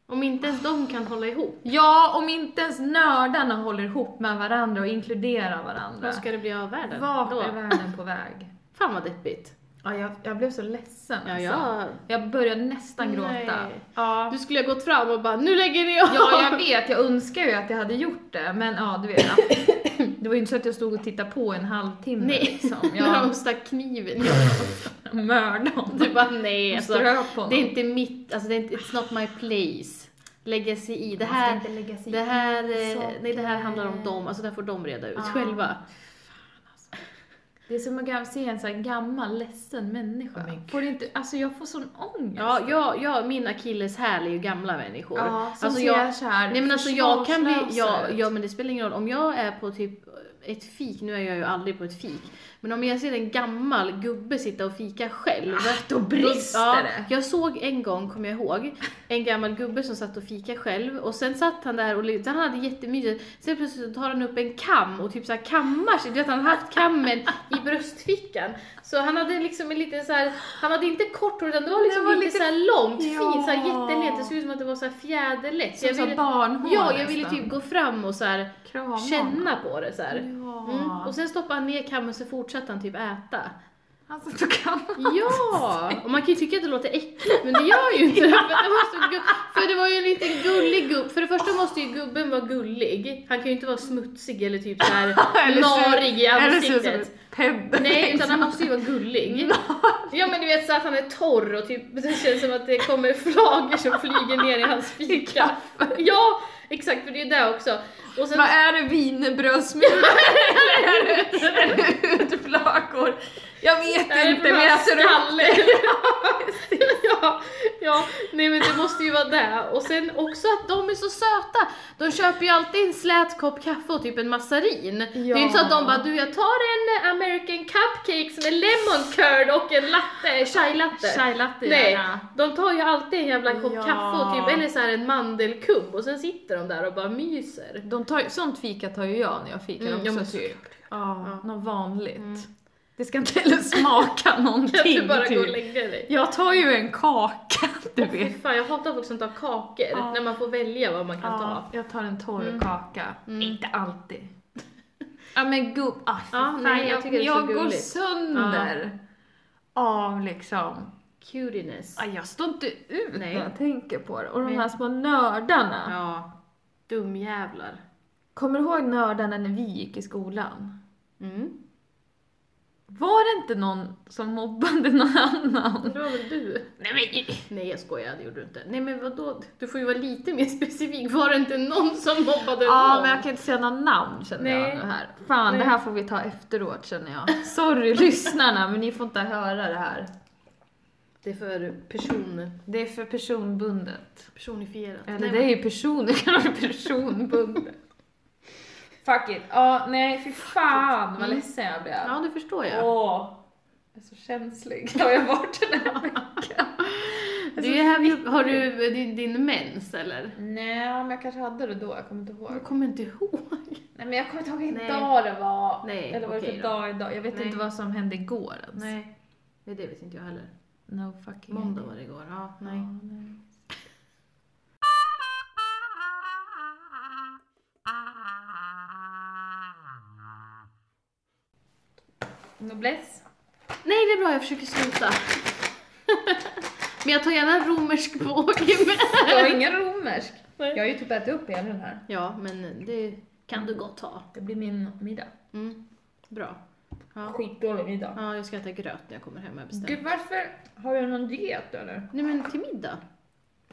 [SPEAKER 1] Om inte ens de kan hålla ihop,
[SPEAKER 2] Ja, om inte ens nördarna håller ihop med varandra och inkluderar varandra.
[SPEAKER 1] vad ska det bli av världen
[SPEAKER 2] Vart
[SPEAKER 1] då?
[SPEAKER 2] är världen på väg?
[SPEAKER 1] Fan vad deppigt.
[SPEAKER 2] Ja, jag, jag blev så ledsen
[SPEAKER 1] Ja,
[SPEAKER 2] alltså.
[SPEAKER 1] ja.
[SPEAKER 2] Jag började nästan gråta.
[SPEAKER 1] Nej.
[SPEAKER 2] Ja.
[SPEAKER 1] Du skulle ha gått fram och bara, nu lägger vi av!
[SPEAKER 2] ja, jag vet. Jag önskar ju att jag hade gjort det, men ja, du vet. Ja. Det var ju inte så att jag stod och tittade på en halvtimme
[SPEAKER 1] Nej,
[SPEAKER 2] liksom.
[SPEAKER 1] när
[SPEAKER 2] Jag
[SPEAKER 1] de stack kniven.
[SPEAKER 2] mördade honom.
[SPEAKER 1] Du bara, nej alltså.
[SPEAKER 2] Ströp honom.
[SPEAKER 1] Det är inte mitt, alltså det är inte, it's not my place. Lägga sig i. Det
[SPEAKER 2] Man ska
[SPEAKER 1] här,
[SPEAKER 2] inte lägga sig
[SPEAKER 1] det här,
[SPEAKER 2] i
[SPEAKER 1] eh, nej det här
[SPEAKER 2] saker.
[SPEAKER 1] handlar om dem, alltså det här får de reda ut
[SPEAKER 2] Ja.
[SPEAKER 1] själva.
[SPEAKER 2] Det är som att se en sån här gammal, ledsen människa.
[SPEAKER 1] Men gud.
[SPEAKER 2] får inte, alltså jag får sån ångest.
[SPEAKER 1] Ja, jag, jag, min akilleshäl är ju gamla människor.
[SPEAKER 2] Ja, som
[SPEAKER 1] alltså
[SPEAKER 2] ser
[SPEAKER 1] jag,
[SPEAKER 2] så här
[SPEAKER 1] nej men alltså jag kan bli, ja,
[SPEAKER 2] försvarslösa ut.
[SPEAKER 1] ja men det spelar ingen roll. Om jag är på typ ett fik, nu är jag ju aldrig på ett fik, men om jag ser en gammal gubbe sitta och fika själv.
[SPEAKER 2] Ah, då brister
[SPEAKER 1] ja,
[SPEAKER 2] det.
[SPEAKER 1] Jag såg en gång, kommer jag ihåg, en gammal gubbe som satt och fika själv och sen satt han där och lut- han hade jättemysigt. Sen plötsligt tar han upp en kam och typ så här kammar sig. Du vet han har haft kammen i bröstfickan. Så han hade liksom en liten så här, han hade inte kort hår utan det var liksom
[SPEAKER 2] Det var
[SPEAKER 1] lite,
[SPEAKER 2] lite-
[SPEAKER 1] så här långt,
[SPEAKER 2] Ja.
[SPEAKER 1] fint, så här jättelätt. Det såg ut som att det var så här fjäderlätt.
[SPEAKER 2] Som
[SPEAKER 1] Jag
[SPEAKER 2] så
[SPEAKER 1] ville-
[SPEAKER 2] barnhår
[SPEAKER 1] Ja, jag ville
[SPEAKER 2] nästan.
[SPEAKER 1] typ gå fram och så här
[SPEAKER 2] krama
[SPEAKER 1] känna Mm, på det så här.
[SPEAKER 2] Ja.
[SPEAKER 1] Mm. Och sen stoppade han ner kammen så fortsatte han typ äta.
[SPEAKER 2] Han satt och kammade.
[SPEAKER 1] Ja! Och man kan ju tycka att det låter äckligt, men det gör ju inte det. För det var, så gu- för det var ju en liten gullig gubb. För det första måste ju gubben vara gullig. Han kan ju inte vara smutsig eller typ såhär
[SPEAKER 2] Eller så-
[SPEAKER 1] narig i
[SPEAKER 2] Eller ser ut som liksom.
[SPEAKER 1] ansiktet.
[SPEAKER 2] en pedder.
[SPEAKER 1] Nej, utan han måste ju vara gullig. Ja men du vet så att han är torr och typ, det känns som att det kommer flagor som flyger ner i hans fika. Ja, exakt för det är ju det också. Och sen
[SPEAKER 2] Vad är det? Wienerbrödsmjöl? Eller är det- är det hudflakor? Jag vet
[SPEAKER 1] Är det
[SPEAKER 2] inte
[SPEAKER 1] för
[SPEAKER 2] men
[SPEAKER 1] bara
[SPEAKER 2] jag ser upp.
[SPEAKER 1] skalle? ja, ja, nej men det måste ju vara det. Och sen också att de är så söta. De köper ju alltid en slät kopp kaffe och typ en massarin. Det är ju inte så att de bara du jag tar en eh, American cupcake som är lemon curd och en latte, chai latte.
[SPEAKER 2] Chai latte
[SPEAKER 1] Nej,
[SPEAKER 2] gärna.
[SPEAKER 1] de tar ju alltid en jävla kopp
[SPEAKER 2] Ja.
[SPEAKER 1] kaffe och typ, eller så här en mandelkubb och sen sitter de där och bara myser.
[SPEAKER 2] De tar, ju- sånt fika tar ju jag när jag fikar
[SPEAKER 1] Mm, ja, men
[SPEAKER 2] också typ. Ja,
[SPEAKER 1] Ja.
[SPEAKER 2] något vanligt.
[SPEAKER 1] Mm.
[SPEAKER 2] Det ska inte heller smaka
[SPEAKER 1] Kan
[SPEAKER 2] någonting.
[SPEAKER 1] du bara gå och
[SPEAKER 2] typ.
[SPEAKER 1] lägga dig?
[SPEAKER 2] Jag tar ju en kaka, du
[SPEAKER 1] Fy
[SPEAKER 2] vet.
[SPEAKER 1] fan, jag hatar folk som tar kakor
[SPEAKER 2] Ja.
[SPEAKER 1] när man får välja vad man kan ta.
[SPEAKER 2] Ja, jag tar en torr
[SPEAKER 1] Mm.
[SPEAKER 2] kaka.
[SPEAKER 1] Mm.
[SPEAKER 2] Inte alltid. Ja men gubb, ah, för
[SPEAKER 1] Ja,
[SPEAKER 2] fan,
[SPEAKER 1] nej, jag
[SPEAKER 2] jag,
[SPEAKER 1] tycker det är så
[SPEAKER 2] jag går
[SPEAKER 1] gulligt.
[SPEAKER 2] sönder av liksom,
[SPEAKER 1] Cutiness.
[SPEAKER 2] ah, jag står inte ut
[SPEAKER 1] Nej.
[SPEAKER 2] när jag tänker på det. Och de
[SPEAKER 1] Men-
[SPEAKER 2] här små nördarna.
[SPEAKER 1] Ja. Dumjävlar.
[SPEAKER 2] Kommer du ihåg nördarna när vi gick i skolan?
[SPEAKER 1] Mm.
[SPEAKER 2] Var det inte någon som mobbade någon annan?
[SPEAKER 1] Det var väl du?
[SPEAKER 2] Nej men
[SPEAKER 1] Nej jag skojar, det gjorde du inte. Nej men vadå? Du får ju vara lite mer specifik. Var det inte någon som mobbade
[SPEAKER 2] Ja,
[SPEAKER 1] någon?
[SPEAKER 2] men jag kan inte säga några namn känner
[SPEAKER 1] Nej.
[SPEAKER 2] jag nu här. Fan,
[SPEAKER 1] Nej.
[SPEAKER 2] det här får vi ta efteråt känner jag. Sorry lyssnarna, men ni får inte höra det här.
[SPEAKER 1] Det är för person...
[SPEAKER 2] Det är för personbundet.
[SPEAKER 1] personifierat.
[SPEAKER 2] Eller
[SPEAKER 1] Nej,
[SPEAKER 2] det är ju person, det kallar det personbundet. Fuck it. Ja, nej fy fan vad
[SPEAKER 1] Mm.
[SPEAKER 2] ledsen jag blev.
[SPEAKER 1] men- Ja det förstår jag.
[SPEAKER 2] Åh, jag är så känslig. Har jag varit den här veckan?
[SPEAKER 1] du är här, vid- har du din, din mens eller?
[SPEAKER 2] Nej, men jag kanske hade det då, jag kommer inte ihåg.
[SPEAKER 1] Jag kommer inte ihåg.
[SPEAKER 2] Nej men jag kommer inte ihåg vilken
[SPEAKER 1] Mm. Nej.
[SPEAKER 2] dag det var.
[SPEAKER 1] Nej,
[SPEAKER 2] Eller vad det
[SPEAKER 1] okej
[SPEAKER 2] för
[SPEAKER 1] då.
[SPEAKER 2] dag idag. Jag vet
[SPEAKER 1] Nej.
[SPEAKER 2] inte vad som hände igår ens.
[SPEAKER 1] Nej. Nej det vet inte jag heller.
[SPEAKER 2] No fucking
[SPEAKER 1] Måndag
[SPEAKER 2] idea.
[SPEAKER 1] var det igår. Ja,
[SPEAKER 2] Ja,
[SPEAKER 1] nej.
[SPEAKER 2] Noblesse.
[SPEAKER 1] Nej det är bra, jag försöker sluta. men jag tar gärna en romersk båge med.
[SPEAKER 2] Jag har ingen romersk.
[SPEAKER 1] Nej.
[SPEAKER 2] Jag har ju typ ätit upp hela den här.
[SPEAKER 1] Ja, men det kan du gott ha.
[SPEAKER 2] Det blir min middag.
[SPEAKER 1] Mm. Bra. Ja.
[SPEAKER 2] Skitdålig middag.
[SPEAKER 1] ja, jag ska äta gröt när jag kommer hem har jag bestämt.
[SPEAKER 2] Gud varför har jag någon diet eller?
[SPEAKER 1] Nej men till middag.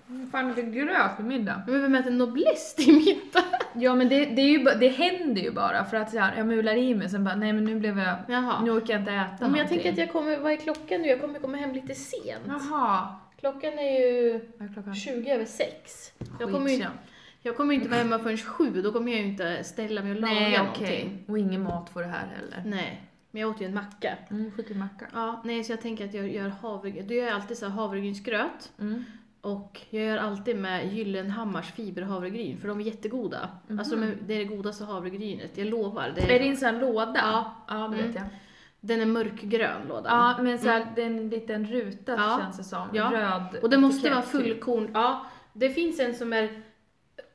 [SPEAKER 2] Vad Fan är det gröt till middag?
[SPEAKER 1] Men vem äter noblesse till middag?
[SPEAKER 2] Ja men det, det, är ju, ba- det händer ju bara för att så här, jag mular i mig sen bara nej men nu blev jag,
[SPEAKER 1] Jaha.
[SPEAKER 2] nu orkar jag inte äta
[SPEAKER 1] Ja, men jag tänker att
[SPEAKER 2] någonting.
[SPEAKER 1] jag kommer, vad är klockan nu? Jag kommer komma hem lite sent.
[SPEAKER 2] Jaha.
[SPEAKER 1] Klockan är ju
[SPEAKER 2] Vad är klockan?
[SPEAKER 1] 20 över 6. Jag kommer, ju, jag kommer ju inte vara hemma förrän 7, då kommer jag ju inte ställa mig och laga
[SPEAKER 2] Nej okej.
[SPEAKER 1] någonting.
[SPEAKER 2] Och ingen mat får det här heller.
[SPEAKER 1] Nej, men jag åt ju en macka.
[SPEAKER 2] Mm, skit i macka.
[SPEAKER 1] Ja, nej så jag tänker att jag gör havregryn, då gör jag alltid så här havregrynsgröt.
[SPEAKER 2] Mm.
[SPEAKER 1] Och jag gör alltid med Gyllenhammars fiberhavregryn för de är jättegoda.
[SPEAKER 2] Mhm.
[SPEAKER 1] Alltså de är- det är det godaste havregrynet, jag lovar. Det
[SPEAKER 2] Är det en sån här låda?
[SPEAKER 1] Ja.
[SPEAKER 2] ja det vet
[SPEAKER 1] Mm.
[SPEAKER 2] jag.
[SPEAKER 1] Den är mörkgrön lådan.
[SPEAKER 2] Ja, men så här, det är en liten ruta
[SPEAKER 1] Ja.
[SPEAKER 2] känns det som.
[SPEAKER 1] Ja.
[SPEAKER 2] Röd.
[SPEAKER 1] Och det måste vara
[SPEAKER 2] etikett, typ.
[SPEAKER 1] fullkorn. Ja, det finns en som är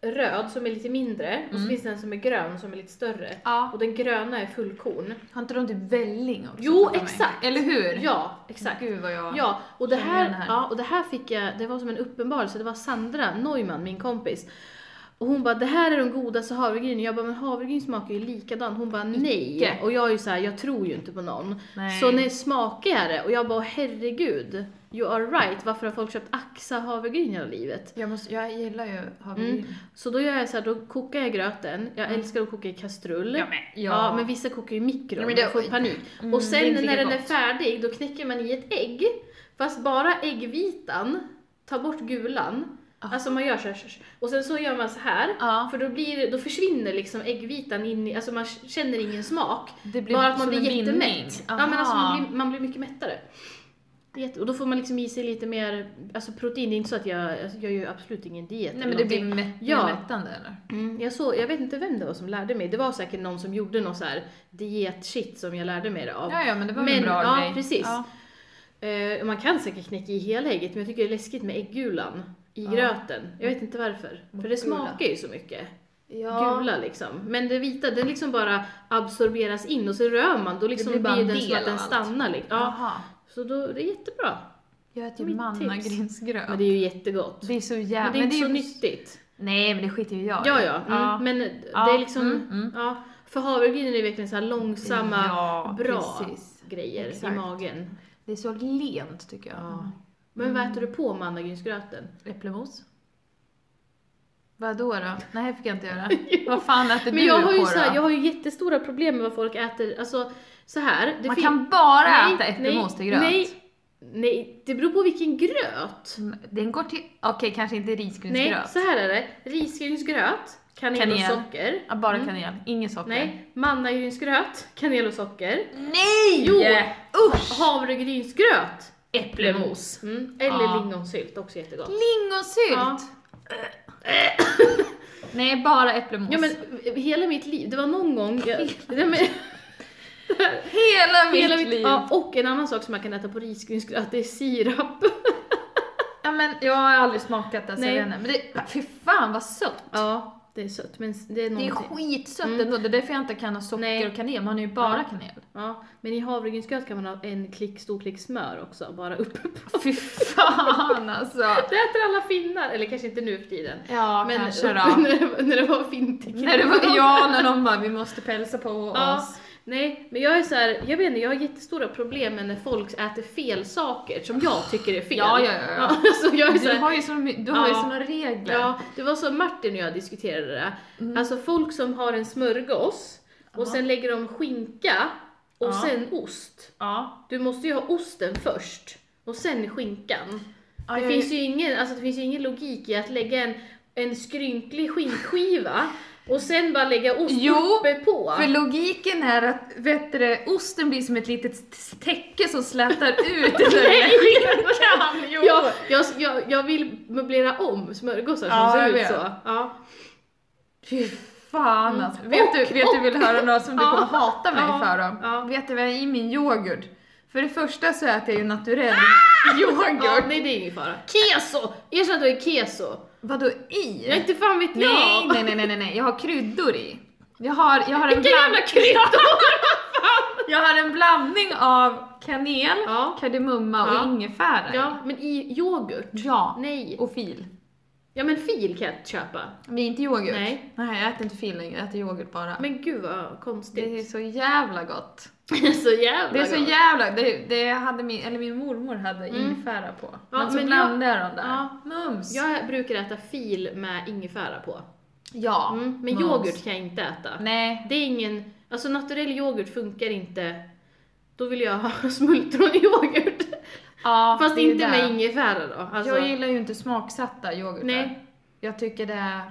[SPEAKER 1] röd som är lite mindre och så
[SPEAKER 2] Mm.
[SPEAKER 1] finns det en som är grön som är lite större.
[SPEAKER 2] Ja.
[SPEAKER 1] Och den gröna är fullkorn.
[SPEAKER 2] Har inte de typ välling också?
[SPEAKER 1] Jo,
[SPEAKER 2] för mig?
[SPEAKER 1] exakt.
[SPEAKER 2] Eller hur?
[SPEAKER 1] Ja, exakt.
[SPEAKER 2] Gud vad jag...
[SPEAKER 1] Ja, och det
[SPEAKER 2] Känner igen det
[SPEAKER 1] här,
[SPEAKER 2] här.
[SPEAKER 1] ja, och det här fick jag, det var som en uppenbarelse, det var Sandra Neumann, min kompis. Och hon bara, det här är de godaste havregrynen. Jag bara, men havregryn smakar ju likadan. Hon bara, nej.
[SPEAKER 2] Icke.
[SPEAKER 1] Och jag är ju såhär, jag tror ju inte på någon.
[SPEAKER 2] Nej.
[SPEAKER 1] Så när smakar jag det? Och jag bara, herregud. You are right. Varför har folk köpt Axa havregryn hela livet?
[SPEAKER 2] Jag, måste, jag gillar ju havregryn.
[SPEAKER 1] Mm. Så då gör jag så här, då kokar jag gröten. Jag
[SPEAKER 2] Mm.
[SPEAKER 1] älskar att koka i kastrull.
[SPEAKER 2] Jag med. Ja.
[SPEAKER 1] Ja, men vissa kokar ju i mikron,
[SPEAKER 2] Ja,
[SPEAKER 1] men
[SPEAKER 2] men
[SPEAKER 1] det,
[SPEAKER 2] det-
[SPEAKER 1] får panik.
[SPEAKER 2] Mm,
[SPEAKER 1] och
[SPEAKER 2] det är
[SPEAKER 1] sen
[SPEAKER 2] inte
[SPEAKER 1] när
[SPEAKER 2] lika
[SPEAKER 1] den är
[SPEAKER 2] gott.
[SPEAKER 1] färdig, då knäcker man i ett ägg. Fast bara äggvitan, ta bort gulan.
[SPEAKER 2] Ah.
[SPEAKER 1] Alltså man gör så här, så här. Och sen så gör man så här.
[SPEAKER 2] Ja.
[SPEAKER 1] För då, blir, då försvinner liksom äggvitan in i, alltså man känner ingen smak.
[SPEAKER 2] Det blir
[SPEAKER 1] bara att man
[SPEAKER 2] som
[SPEAKER 1] blir
[SPEAKER 2] en vinning.
[SPEAKER 1] jättemätt. Ja, men
[SPEAKER 2] Aha.
[SPEAKER 1] alltså man, blir, man blir mycket mättare. Det är jätte- Och då får man liksom i sig lite mer alltså protein. Det är inte så att jag, alltså jag gör ju absolut ingen diet.
[SPEAKER 2] Nej
[SPEAKER 1] eller
[SPEAKER 2] men det
[SPEAKER 1] någonting.
[SPEAKER 2] blir mätt,
[SPEAKER 1] Ja.
[SPEAKER 2] mättande eller?
[SPEAKER 1] Mm, jag, såg, jag vet inte vem det var som lärde mig. Det var säkert någon som gjorde någon så här diet-shit som jag lärde mig det av.
[SPEAKER 2] Ja, ja men det var väl
[SPEAKER 1] Men-
[SPEAKER 2] en bra
[SPEAKER 1] ja,
[SPEAKER 2] grej.
[SPEAKER 1] precis.
[SPEAKER 2] Ja.
[SPEAKER 1] Eh, man kan säkert knäcka i hela ägget, men jag tycker det är läskigt med äggulan i
[SPEAKER 2] Ja.
[SPEAKER 1] gröten. Jag vet inte varför. För det
[SPEAKER 2] Motgula.
[SPEAKER 1] smakar ju så mycket.
[SPEAKER 3] Ja.
[SPEAKER 1] gula liksom. Men det vita, den liksom bara absorberas in och så rör man, då liksom
[SPEAKER 2] blir
[SPEAKER 1] blir,
[SPEAKER 2] bara en
[SPEAKER 1] den
[SPEAKER 2] del
[SPEAKER 1] som att
[SPEAKER 2] av
[SPEAKER 1] den
[SPEAKER 2] allt.
[SPEAKER 1] stannar. Liksom. Ja,
[SPEAKER 2] Jaha.
[SPEAKER 1] så då, det är jättebra.
[SPEAKER 2] Jag äter ju
[SPEAKER 1] Mitt
[SPEAKER 2] mannagrynsgröt.
[SPEAKER 1] Men det är ju jättegott.
[SPEAKER 2] Det är så
[SPEAKER 1] Men
[SPEAKER 2] jävla...
[SPEAKER 1] det är inte så
[SPEAKER 2] ju-
[SPEAKER 1] nyttigt.
[SPEAKER 2] Nej, men det skiter ju jag i.
[SPEAKER 1] Ja, ja. Mm.
[SPEAKER 2] Ja.
[SPEAKER 1] Men det
[SPEAKER 2] Ja,
[SPEAKER 1] är liksom,
[SPEAKER 2] mm, mm.
[SPEAKER 1] ja. För havregrynen är verkligen så här långsamma,
[SPEAKER 2] Ja,
[SPEAKER 1] bra
[SPEAKER 2] precis.
[SPEAKER 1] grejer
[SPEAKER 2] Exakt.
[SPEAKER 1] i magen.
[SPEAKER 2] Det är så lent tycker jag.
[SPEAKER 1] Ja. Men vad
[SPEAKER 2] Mm.
[SPEAKER 1] äter du på mannagrynsgröten?
[SPEAKER 2] Äpplemos? Vadå då? Nej, det fick jag inte göra. Vad fan äter
[SPEAKER 1] Men
[SPEAKER 2] du
[SPEAKER 1] jag har,
[SPEAKER 2] på
[SPEAKER 1] ju
[SPEAKER 2] då?
[SPEAKER 1] så här, jag har ju jättestora problem med vad folk äter, alltså så här. det
[SPEAKER 2] Man
[SPEAKER 1] fin-
[SPEAKER 2] kan bara
[SPEAKER 1] Nej,
[SPEAKER 2] äta äppelmos
[SPEAKER 1] nej,
[SPEAKER 2] till gröt.
[SPEAKER 1] Nej, nej, det beror på vilken gröt.
[SPEAKER 2] Mm, Den går till... Okej, kanske inte
[SPEAKER 1] Nej,
[SPEAKER 2] risgrynsgröt.
[SPEAKER 1] så här är det. Risgrynsgröt, kanel,
[SPEAKER 2] Kanel.
[SPEAKER 1] och socker.
[SPEAKER 2] Ja, bara
[SPEAKER 1] Mm.
[SPEAKER 2] kanel, inget socker.
[SPEAKER 1] Nej, mannagrynsgröt, kanel och socker.
[SPEAKER 2] Nej!
[SPEAKER 1] Jo!
[SPEAKER 2] Usch!
[SPEAKER 1] Havregrynsgröt,
[SPEAKER 2] Äpplemos.
[SPEAKER 1] Mm. Eller
[SPEAKER 2] Ja. Mm.
[SPEAKER 1] lingonsylt, också jättegott.
[SPEAKER 2] Lingonsylt!
[SPEAKER 1] Ja.
[SPEAKER 2] Nej, bara äpplemos.
[SPEAKER 1] Ja men eh, hela mitt liv, det var någon gång jag, nej, men,
[SPEAKER 2] hela mitt
[SPEAKER 1] hela
[SPEAKER 2] liv!
[SPEAKER 1] mitt, ja, Och en annan sak som man kan äta på risgrynsgröt, det är sirap.
[SPEAKER 2] Ja, men jag har aldrig smakat det, så
[SPEAKER 1] Nej.
[SPEAKER 2] jag vet inte. Men det, fy fan vad sött!
[SPEAKER 1] Ja, det är sött men det är
[SPEAKER 2] Det är
[SPEAKER 1] någonting.
[SPEAKER 2] skitsött
[SPEAKER 1] Mm.
[SPEAKER 2] ändå, det är därför jag inte kan ha socker
[SPEAKER 1] Nej.
[SPEAKER 2] och kanel, man har ju bara
[SPEAKER 1] Ja.
[SPEAKER 2] kanel.
[SPEAKER 1] Ja, men i havregrynsgröt kan man ha en klick, stor klick smör också, bara uppe på.
[SPEAKER 2] Fy fan alltså!
[SPEAKER 1] Det äter alla finnar, eller kanske inte nu för tiden.
[SPEAKER 2] Ja,
[SPEAKER 1] men
[SPEAKER 2] kanske
[SPEAKER 1] uppe
[SPEAKER 2] då.
[SPEAKER 1] När, det- när det var fintekniker.
[SPEAKER 2] När det var, ja, när de bara vi måste pälsa på oss.
[SPEAKER 1] Ja. Nej, men jag är så här, jag vet inte, jag har jättestora problem med när folk äter fel saker som jag tycker är fel.
[SPEAKER 2] Ja, ja, ja, ja.
[SPEAKER 1] så jag är så
[SPEAKER 2] Du
[SPEAKER 1] här,
[SPEAKER 2] har ju, så, du har ju
[SPEAKER 1] Ja.
[SPEAKER 2] såna regler.
[SPEAKER 1] ja, det var som Martin och jag diskuterade det.
[SPEAKER 2] Mm.
[SPEAKER 1] Alltså folk som har en smörgås och
[SPEAKER 2] Ja.
[SPEAKER 1] sen lägger de skinka och
[SPEAKER 2] Ja.
[SPEAKER 1] sen ost.
[SPEAKER 2] Ja.
[SPEAKER 1] Du måste ju ha osten först och sen skinkan.
[SPEAKER 2] Ja,
[SPEAKER 1] det,
[SPEAKER 2] jag-
[SPEAKER 1] finns ju ingen, alltså det finns ju ingen logik i att lägga en, en skrynklig skinkskiva och sen bara lägga ost
[SPEAKER 2] Jo,
[SPEAKER 1] uppe på.
[SPEAKER 2] För logiken är att vet du, det, osten blir som ett litet täcke som slätar ut den där skinkan. Jo.
[SPEAKER 1] Jag, jag, jag, jag vill möblera om smörgåsar som
[SPEAKER 2] Ja, jag
[SPEAKER 1] ser ut
[SPEAKER 2] vet.
[SPEAKER 1] så. Ja.
[SPEAKER 2] Fy fan alltså. Vet, du, vet du vill höra något som du
[SPEAKER 1] Mm. Ja.
[SPEAKER 2] kommer hata mig
[SPEAKER 1] Ja.
[SPEAKER 2] för då?
[SPEAKER 1] Ja.
[SPEAKER 2] Vet du vad jag har i min yoghurt? För det första så äter jag ju naturell yoghurt.
[SPEAKER 1] Ah! ja, nej det är ingen fara. Keso! Erkänn att du är keso.
[SPEAKER 2] Vadå i?
[SPEAKER 1] Jag inte fan vet jag.
[SPEAKER 2] Nej, nej, nej, nej, nej, nej, jag har kryddor i. Jag har, jag har en
[SPEAKER 1] Vilka jävla
[SPEAKER 2] bland...
[SPEAKER 1] kryddor!
[SPEAKER 2] Jag har en blandning av kanel,
[SPEAKER 1] Ja.
[SPEAKER 2] kardemumma och
[SPEAKER 1] Ja.
[SPEAKER 2] ingefära. i.
[SPEAKER 1] Ja, men i yoghurt?
[SPEAKER 2] ja.
[SPEAKER 1] Nej.
[SPEAKER 2] Och fil.
[SPEAKER 1] Ja men fil kan jag köpa.
[SPEAKER 2] Men inte yoghurt.
[SPEAKER 1] Nej.
[SPEAKER 2] Nej, jag äter inte fil längre, jag äter yoghurt bara.
[SPEAKER 1] Men gud vad konstigt.
[SPEAKER 2] det är så jävla gott.
[SPEAKER 1] så jävla
[SPEAKER 2] Det är så
[SPEAKER 1] gott. Mm.
[SPEAKER 2] jävla, det, det hade min, eller min mormor hade ingefära på. men så
[SPEAKER 1] men
[SPEAKER 2] blandade jag dem där.
[SPEAKER 1] ja.
[SPEAKER 2] Mums!
[SPEAKER 1] Jag brukar äta fil med ingefära på.
[SPEAKER 2] Ja.
[SPEAKER 1] Mm, men
[SPEAKER 2] mums.
[SPEAKER 1] yoghurt kan jag inte äta.
[SPEAKER 2] Nej.
[SPEAKER 1] Det är ingen, alltså naturell yoghurt funkar inte. Då vill jag ha smultronyoghurt.
[SPEAKER 2] Ja,
[SPEAKER 1] Fast
[SPEAKER 2] det är
[SPEAKER 1] inte
[SPEAKER 2] det.
[SPEAKER 1] med ingefära då. Alltså,
[SPEAKER 2] Jag gillar ju inte smaksatta yoghurtar.
[SPEAKER 1] Nej.
[SPEAKER 2] Jag tycker det är...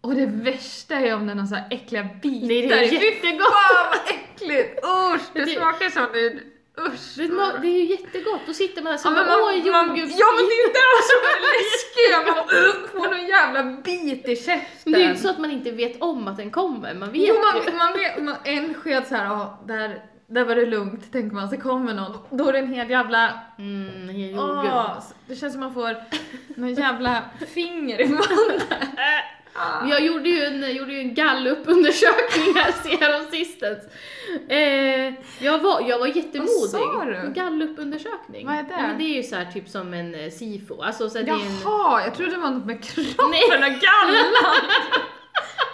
[SPEAKER 2] Och det värsta är om det är någon så här äckliga bitar
[SPEAKER 1] Nej, det är
[SPEAKER 2] i. Fy
[SPEAKER 1] jättegott.
[SPEAKER 2] fan vad äckligt! Usch, det,
[SPEAKER 1] Det-
[SPEAKER 2] smakar som nu. Usch!
[SPEAKER 1] det, ma- det är ju jättegott, då sitter man
[SPEAKER 2] Ja,
[SPEAKER 1] där som
[SPEAKER 2] men man,
[SPEAKER 1] åh
[SPEAKER 2] man,
[SPEAKER 1] yoghurt.
[SPEAKER 2] ja men det är det som är läskigt! Man bara, "Ugh", får någon jävla bit i käften.
[SPEAKER 1] Men det är ju inte så att man inte vet om att den kommer, man vet
[SPEAKER 2] Jo,
[SPEAKER 1] ju.
[SPEAKER 2] man, man, vet- man, en sked så här, ja, där, där var det lugnt, tänker man, så kommer någon. Då är det en hel jävla...
[SPEAKER 1] Mm,
[SPEAKER 2] Åh,
[SPEAKER 1] yoghurt.
[SPEAKER 2] det känns som man får någon jävla finger i munnen.
[SPEAKER 1] Men Jag gjorde ju en, gjorde ju en gallupundersökning här sistens. Eh, jag, var, jag var jättemodig.
[SPEAKER 2] Vad sa du?
[SPEAKER 1] En gallupundersökning.
[SPEAKER 2] Vad är det?
[SPEAKER 1] Nej, men det är ju så här, typ som en eh, SIFO. Alltså, så här, det är en,
[SPEAKER 2] Jaha, jag trodde det var något med kroppen
[SPEAKER 1] Nej.
[SPEAKER 2] och gallan.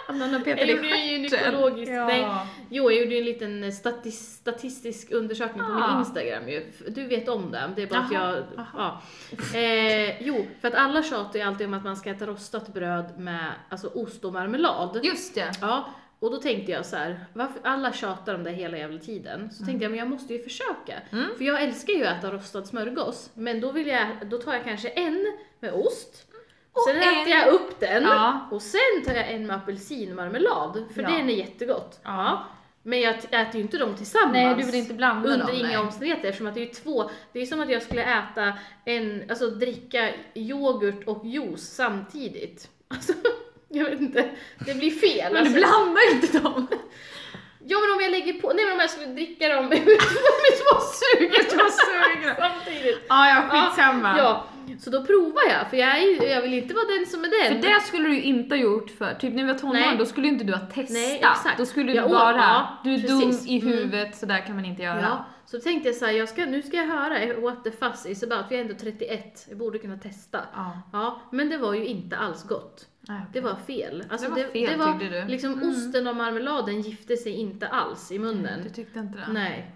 [SPEAKER 2] Att någon har petat
[SPEAKER 1] jag
[SPEAKER 2] i
[SPEAKER 1] gjorde ju
[SPEAKER 2] stjärten.
[SPEAKER 1] gynekologiskt.
[SPEAKER 2] Ja.
[SPEAKER 1] Nej, jo, jag gjorde ju en liten eh, statis, statistisk undersökning på
[SPEAKER 2] Ah.
[SPEAKER 1] min Instagram ju. F- Du vet om det, det är bara att
[SPEAKER 2] Aha,
[SPEAKER 1] jag... Ja. Eh, jo, för att alla tjatar ju alltid om att man ska äta rostat bröd med alltså, ost och marmelad.
[SPEAKER 2] Just det.
[SPEAKER 1] Ja, och då tänkte jag så här, varför alla tjatar om det hela jävla tiden. Så tänkte jag, men jag måste ju försöka.
[SPEAKER 2] Mm.
[SPEAKER 1] För jag älskar ju att äta rostad smörgås, men då, vill jag, då tar jag kanske en med ost,
[SPEAKER 2] Och
[SPEAKER 1] sen
[SPEAKER 2] en-
[SPEAKER 1] äter jag upp den,
[SPEAKER 2] Ja.
[SPEAKER 1] och sen tar jag en med apelsinmarmelad, för
[SPEAKER 2] Ja.
[SPEAKER 1] den är jättegott.
[SPEAKER 2] Ja.
[SPEAKER 1] Men jag t- äter ju inte dem tillsammans.
[SPEAKER 2] Nej, du vill inte blanda
[SPEAKER 1] under
[SPEAKER 2] dem.
[SPEAKER 1] inga
[SPEAKER 2] nej.
[SPEAKER 1] omständigheter eftersom att det är ju två, det är ju som att jag skulle äta en, alltså dricka yoghurt och juice samtidigt. Alltså, jag vet inte, det blir fel.
[SPEAKER 2] Men du
[SPEAKER 1] alltså.
[SPEAKER 2] blandar inte dem.
[SPEAKER 1] Ja men om jag lägger på, nej men om jag skulle dricka dem med två sugrör
[SPEAKER 2] Jag var sugen.
[SPEAKER 1] samtidigt.
[SPEAKER 2] Ja, ja, skitsamma.
[SPEAKER 1] Ja, Så då provar jag, för jag, är, ju- jag vill inte vara den som är
[SPEAKER 2] För
[SPEAKER 1] den.
[SPEAKER 2] det skulle du ju inte ha gjort för typ när vi var tonåring,
[SPEAKER 1] Nej.
[SPEAKER 2] då skulle inte du ha testat.
[SPEAKER 1] Nej, exakt.
[SPEAKER 2] Då skulle du
[SPEAKER 1] Jag åt-
[SPEAKER 2] bara,
[SPEAKER 1] ja,
[SPEAKER 2] du är
[SPEAKER 1] precis.
[SPEAKER 2] dum i
[SPEAKER 1] Mm.
[SPEAKER 2] huvudet, så där kan man inte göra.
[SPEAKER 1] Ja, så tänkte jag så här, jag ska, nu ska jag höra what the fuss is about, för jag är ändå 31, jag borde kunna testa.
[SPEAKER 2] Ja.
[SPEAKER 1] Ja, men det var ju inte alls gott.
[SPEAKER 2] Nej,
[SPEAKER 1] Det var fel. Alltså
[SPEAKER 2] var
[SPEAKER 1] det,
[SPEAKER 2] fel,
[SPEAKER 1] det var
[SPEAKER 2] tyckte du?
[SPEAKER 1] liksom
[SPEAKER 2] Mm.
[SPEAKER 1] osten och marmeladen gifte sig inte alls i munnen.
[SPEAKER 2] Du tyckte inte det?
[SPEAKER 1] Nej.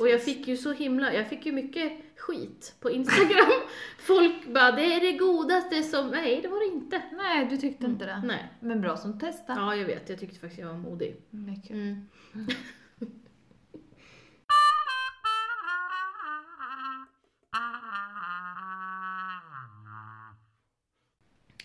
[SPEAKER 1] Och jag fick ju så himla, jag fick ju mycket skit på Instagram. Folk bara, det är det godaste som, nej det var det inte.
[SPEAKER 2] Nej, du tyckte inte det.
[SPEAKER 1] Nej.
[SPEAKER 2] Men bra som testa.
[SPEAKER 1] Ja, jag vet, jag tyckte faktiskt jag var modig.
[SPEAKER 2] Men kul.
[SPEAKER 1] Mm.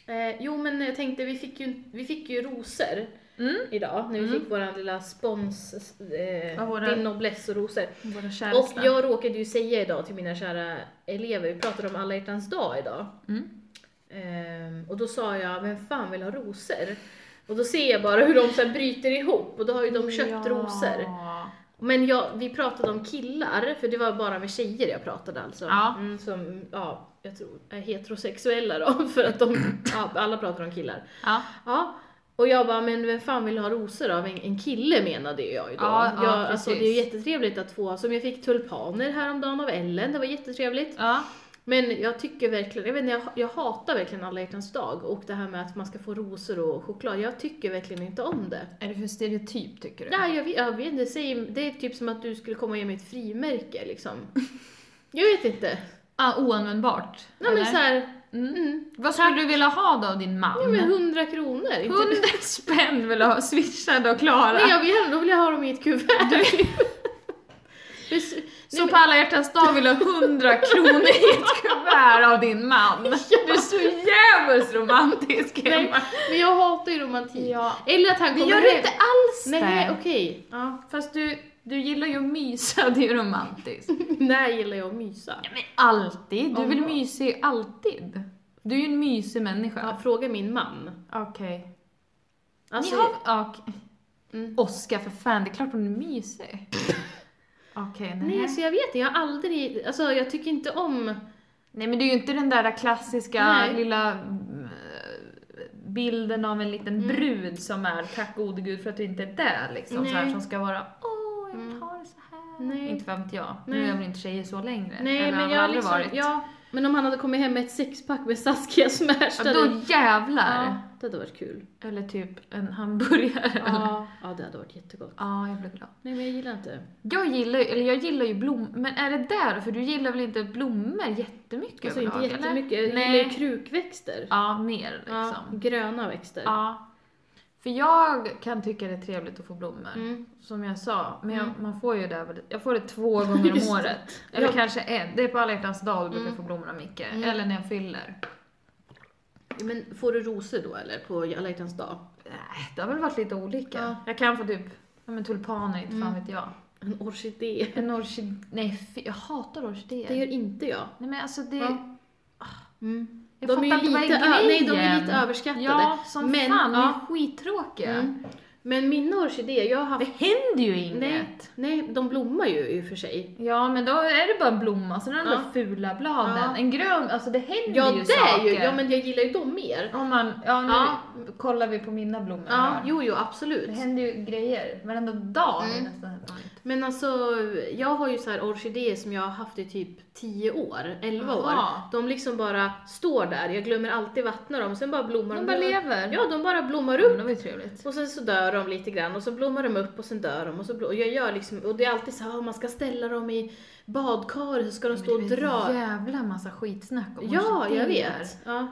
[SPEAKER 1] Eh, jo men jag tänkte, vi fick ju, vi fick ju rosor
[SPEAKER 2] Mm.
[SPEAKER 1] idag när vi
[SPEAKER 2] Mm.
[SPEAKER 1] fick våran lilla spons, eh,
[SPEAKER 2] Ja, våra-
[SPEAKER 1] din noblesse och rosor.
[SPEAKER 2] Våra
[SPEAKER 1] Och
[SPEAKER 2] käresta.
[SPEAKER 1] jag råkade ju säga idag till mina kära elever, vi pratade om alla hjärtans dag idag.
[SPEAKER 2] Mm.
[SPEAKER 1] Ehm, och då sa jag, vem fan vill ha rosor? Och då ser jag bara hur de så här bryter ihop och då har ju de köpt
[SPEAKER 2] Ja.
[SPEAKER 1] rosor. Men jag, vi pratade om killar, för det var bara med tjejer jag pratade alltså.
[SPEAKER 2] Ja.
[SPEAKER 1] Mm, som, ja, jag tror är heterosexuella då, för att de, ja, alla pratar om killar.
[SPEAKER 2] Ja.
[SPEAKER 1] Ja, och jag bara, men vem fan vill ha rosor av en, en kille menade ju jag ju då.
[SPEAKER 2] Ja, ja,
[SPEAKER 1] jag, alltså, det
[SPEAKER 2] precis.
[SPEAKER 1] är ju jättetrevligt att få, som jag fick tulpaner häromdagen av Ellen, det var jättetrevligt.
[SPEAKER 2] ja.
[SPEAKER 1] Men jag tycker verkligen, jag vet inte, jag, jag hatar verkligen alla hjärtans dag och det här med att man ska få rosor och choklad, jag tycker verkligen inte om det.
[SPEAKER 2] Är det för stereotyp tycker du?
[SPEAKER 1] Ja, jag, vet- jag vet inte, säg, det är typ som att du skulle komma och ge mig ett frimärke liksom. Jag vet inte.
[SPEAKER 2] Ah, oanvändbart?
[SPEAKER 1] Nej men
[SPEAKER 2] eller?
[SPEAKER 1] såhär,
[SPEAKER 2] Mm.
[SPEAKER 1] mm,
[SPEAKER 2] Vad skulle du vilja ha då av din
[SPEAKER 1] ja,
[SPEAKER 2] man?
[SPEAKER 1] men 100 kronor. Inte-
[SPEAKER 2] 100 spänn vill du ha swishade och klara.
[SPEAKER 1] Nej jag vill, då vill jag ha dem i ett kuvert. Det är så-
[SPEAKER 2] så på alla hjärtans dag vill du ha 100 kronor i ett kuvert av din man. Du är så jävligt romantisk
[SPEAKER 1] Nej,
[SPEAKER 2] Emma.
[SPEAKER 1] men jag hatar ju romantik.
[SPEAKER 2] Ja.
[SPEAKER 1] Eller att han
[SPEAKER 2] Det
[SPEAKER 1] kommer
[SPEAKER 2] gör du inte alls
[SPEAKER 1] Nej,
[SPEAKER 2] det.
[SPEAKER 1] okej. Ja.
[SPEAKER 2] Fast du, du gillar ju att mysa, det är ju romantiskt.
[SPEAKER 1] När gillar jag att mysa?
[SPEAKER 2] Men alltid, du
[SPEAKER 1] Om
[SPEAKER 2] vill
[SPEAKER 1] vad?
[SPEAKER 2] mysig alltid. Du är ju en mysig människa.
[SPEAKER 1] Ja, fråga min man.
[SPEAKER 2] Okej.
[SPEAKER 1] Alltså,
[SPEAKER 2] Ni har... ja, Okej.
[SPEAKER 1] Mm.
[SPEAKER 2] Oskar för fan, det är klart hon är mysig. Okej,
[SPEAKER 1] Nej,
[SPEAKER 2] nej.
[SPEAKER 1] alltså jag vet inte. Jag har aldrig... Alltså jag tycker inte om...
[SPEAKER 2] Nej men det är ju inte den där klassiska
[SPEAKER 1] Nej.
[SPEAKER 2] lilla mm, bilden av en
[SPEAKER 1] Mm.
[SPEAKER 2] liten brud som är tack gode gud för att du inte är där liksom. Så här,
[SPEAKER 1] Nej.
[SPEAKER 2] som ska vara åh jag
[SPEAKER 1] Mm.
[SPEAKER 2] tar det så här.
[SPEAKER 1] Nej.
[SPEAKER 2] Inte fan vet jag. Nu
[SPEAKER 1] Nej.
[SPEAKER 2] är väl inte tjejer så längre.
[SPEAKER 1] Nej,
[SPEAKER 2] Eller har
[SPEAKER 1] men
[SPEAKER 2] väl
[SPEAKER 1] jag har
[SPEAKER 2] aldrig
[SPEAKER 1] liksom...
[SPEAKER 2] varit.
[SPEAKER 1] Ja, men om han hade kommit hem med ett sexpack med Saskia
[SPEAKER 2] Ja,
[SPEAKER 1] Smärsta...
[SPEAKER 2] då jävlar!
[SPEAKER 1] ja, det hade varit kul.
[SPEAKER 2] Eller typ en hamburgare.
[SPEAKER 1] Ja. ja, det hade varit jättegott.
[SPEAKER 2] ja, jag blev glad.
[SPEAKER 1] Nej, men jag gillar inte.
[SPEAKER 2] Jag gillar ju, eller jag gillar ju blommor, men är det där? För du gillar väl inte blommor jättemycket
[SPEAKER 1] Alltså inte
[SPEAKER 2] överlag,
[SPEAKER 1] jättemycket.
[SPEAKER 2] Eller?
[SPEAKER 1] Jag
[SPEAKER 2] Nej.
[SPEAKER 1] gillar ju krukväxter.
[SPEAKER 2] Ja, mer
[SPEAKER 1] Ja,
[SPEAKER 2] liksom.
[SPEAKER 1] gröna växter.
[SPEAKER 2] Ja. För jag kan tycka det är trevligt att få blommor.
[SPEAKER 1] Mm.
[SPEAKER 2] Som jag sa, men jag,
[SPEAKER 1] Mm.
[SPEAKER 2] man får ju det, väl- jag får det två gånger om
[SPEAKER 1] Just det.
[SPEAKER 2] året. Eller
[SPEAKER 1] Ja.
[SPEAKER 2] kanske en, det är på alla hjärtans dag du brukar
[SPEAKER 1] Mm.
[SPEAKER 2] få blommor av Micke.
[SPEAKER 1] Mm.
[SPEAKER 2] Eller när jag fyller.
[SPEAKER 1] Men får du rosor då eller på alla hjärtans dag?
[SPEAKER 2] Äh, Det har väl varit lite olika.
[SPEAKER 1] Ja.
[SPEAKER 2] Jag kan få typ, ja men tulpaner, inte fan
[SPEAKER 1] Mm.
[SPEAKER 2] vet jag.
[SPEAKER 1] En orkidé.
[SPEAKER 2] En orkidé, nej fy, jag hatar orkidéer.
[SPEAKER 1] Det gör inte jag.
[SPEAKER 2] Nej men alltså det,
[SPEAKER 1] Ja. Mm.
[SPEAKER 2] jag
[SPEAKER 1] De
[SPEAKER 2] fattar
[SPEAKER 1] är ju
[SPEAKER 2] inte vad
[SPEAKER 1] lite, ö-
[SPEAKER 2] grejen.
[SPEAKER 1] nej, de är lite överskattade.
[SPEAKER 2] Ja, som
[SPEAKER 1] Men,
[SPEAKER 2] fan, de är
[SPEAKER 1] ja.
[SPEAKER 2] skittråkiga.
[SPEAKER 1] Mm. Men mina orkidéer, jag har
[SPEAKER 2] Det
[SPEAKER 1] haft...
[SPEAKER 2] händer ju inget.
[SPEAKER 1] Nej, nej, de blommar ju i och för sig.
[SPEAKER 2] Ja men då är det bara en blomma, sen är det de
[SPEAKER 1] Ja.
[SPEAKER 2] där fula bladen.
[SPEAKER 1] Ja.
[SPEAKER 2] En grön, alltså det händer
[SPEAKER 1] Ja,
[SPEAKER 2] ju
[SPEAKER 1] det
[SPEAKER 2] saker.
[SPEAKER 1] är ju! Ja, men jag gillar ju dem mer.
[SPEAKER 2] Om man, ja nu
[SPEAKER 1] Ja.
[SPEAKER 2] kollar vi på mina blommor
[SPEAKER 1] Ja,
[SPEAKER 2] här.
[SPEAKER 1] jo, jo,
[SPEAKER 2] Det
[SPEAKER 1] absolut.
[SPEAKER 2] händer ju grejer, varenda dag är
[SPEAKER 1] Mm.
[SPEAKER 2] nästan ett nytt.
[SPEAKER 1] Men alltså, jag har ju så här orkidéer som jag har haft i typ 10 år, 11
[SPEAKER 2] Aha.
[SPEAKER 1] år. De liksom bara står där, jag glömmer alltid vattna dem, sen bara blommar
[SPEAKER 2] De bara lever.
[SPEAKER 1] Ja, de bara blommar
[SPEAKER 2] Ja,
[SPEAKER 1] upp.
[SPEAKER 2] men det var ju trevligt.
[SPEAKER 1] Och sen så dör de lite grann och så blommar de upp och sen dör de och så blom- och jag gör liksom, och det är alltid så här, "Ah, man ska ställa dem i badkar så ska de stå och
[SPEAKER 2] Men det är en
[SPEAKER 1] dra.
[SPEAKER 2] jävla massa skitsnack om
[SPEAKER 1] Ja, jag
[SPEAKER 2] orkidéer.
[SPEAKER 1] vet. Ja.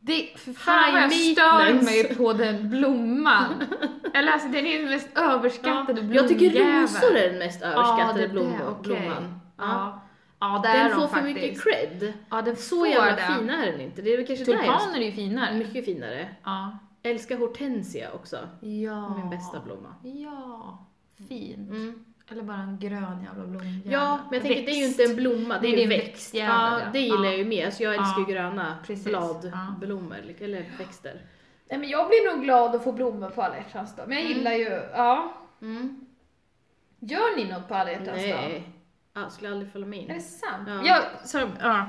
[SPEAKER 2] Det, för fan vad jag
[SPEAKER 1] High
[SPEAKER 2] stör
[SPEAKER 1] maintenance.
[SPEAKER 2] mig på den blomman. Eller alltså den är den mest
[SPEAKER 1] Ja.
[SPEAKER 2] överskattade blomjäveln.
[SPEAKER 1] Jag tycker rosor är den mest
[SPEAKER 2] Ja, det
[SPEAKER 1] överskattade
[SPEAKER 2] är det,
[SPEAKER 1] blom-
[SPEAKER 2] okej.
[SPEAKER 1] blomman. Ja.
[SPEAKER 2] Ja, ja det är
[SPEAKER 1] Den
[SPEAKER 2] de
[SPEAKER 1] får för
[SPEAKER 2] faktiskt.
[SPEAKER 1] mycket cred.
[SPEAKER 2] Ja, den
[SPEAKER 1] Så
[SPEAKER 2] får
[SPEAKER 1] jävla
[SPEAKER 2] det.
[SPEAKER 1] fin är den inte. Det är väl kanske där jag
[SPEAKER 2] Tulpaner är ju
[SPEAKER 1] är
[SPEAKER 2] finare.
[SPEAKER 1] mycket finare.
[SPEAKER 2] Ja.
[SPEAKER 1] Älskar hortensia också.
[SPEAKER 2] ja.
[SPEAKER 1] Min bästa blomma.
[SPEAKER 2] Ja, fin.
[SPEAKER 1] Mm.
[SPEAKER 2] Eller bara en grön jävla blomjävel.
[SPEAKER 1] Ja, men jag tänker det är ju inte en blomma, det är ju växt. Ja, det gillar jag ju mer. Så jag älskar ju
[SPEAKER 2] Ja.
[SPEAKER 1] gröna
[SPEAKER 2] Precis. Ja.
[SPEAKER 1] bladblommor, eller växter.
[SPEAKER 2] Nej men jag blir nog glad att få blommor på alla hjärtans dag. Men jag gillar ju, ja.
[SPEAKER 1] Mm.
[SPEAKER 2] Gör ni något på alla hjärtans dag?
[SPEAKER 1] Nej. Jag skulle aldrig följa med
[SPEAKER 2] Är det
[SPEAKER 1] in.
[SPEAKER 2] sant?
[SPEAKER 1] Ja.
[SPEAKER 2] Jag, så, ja.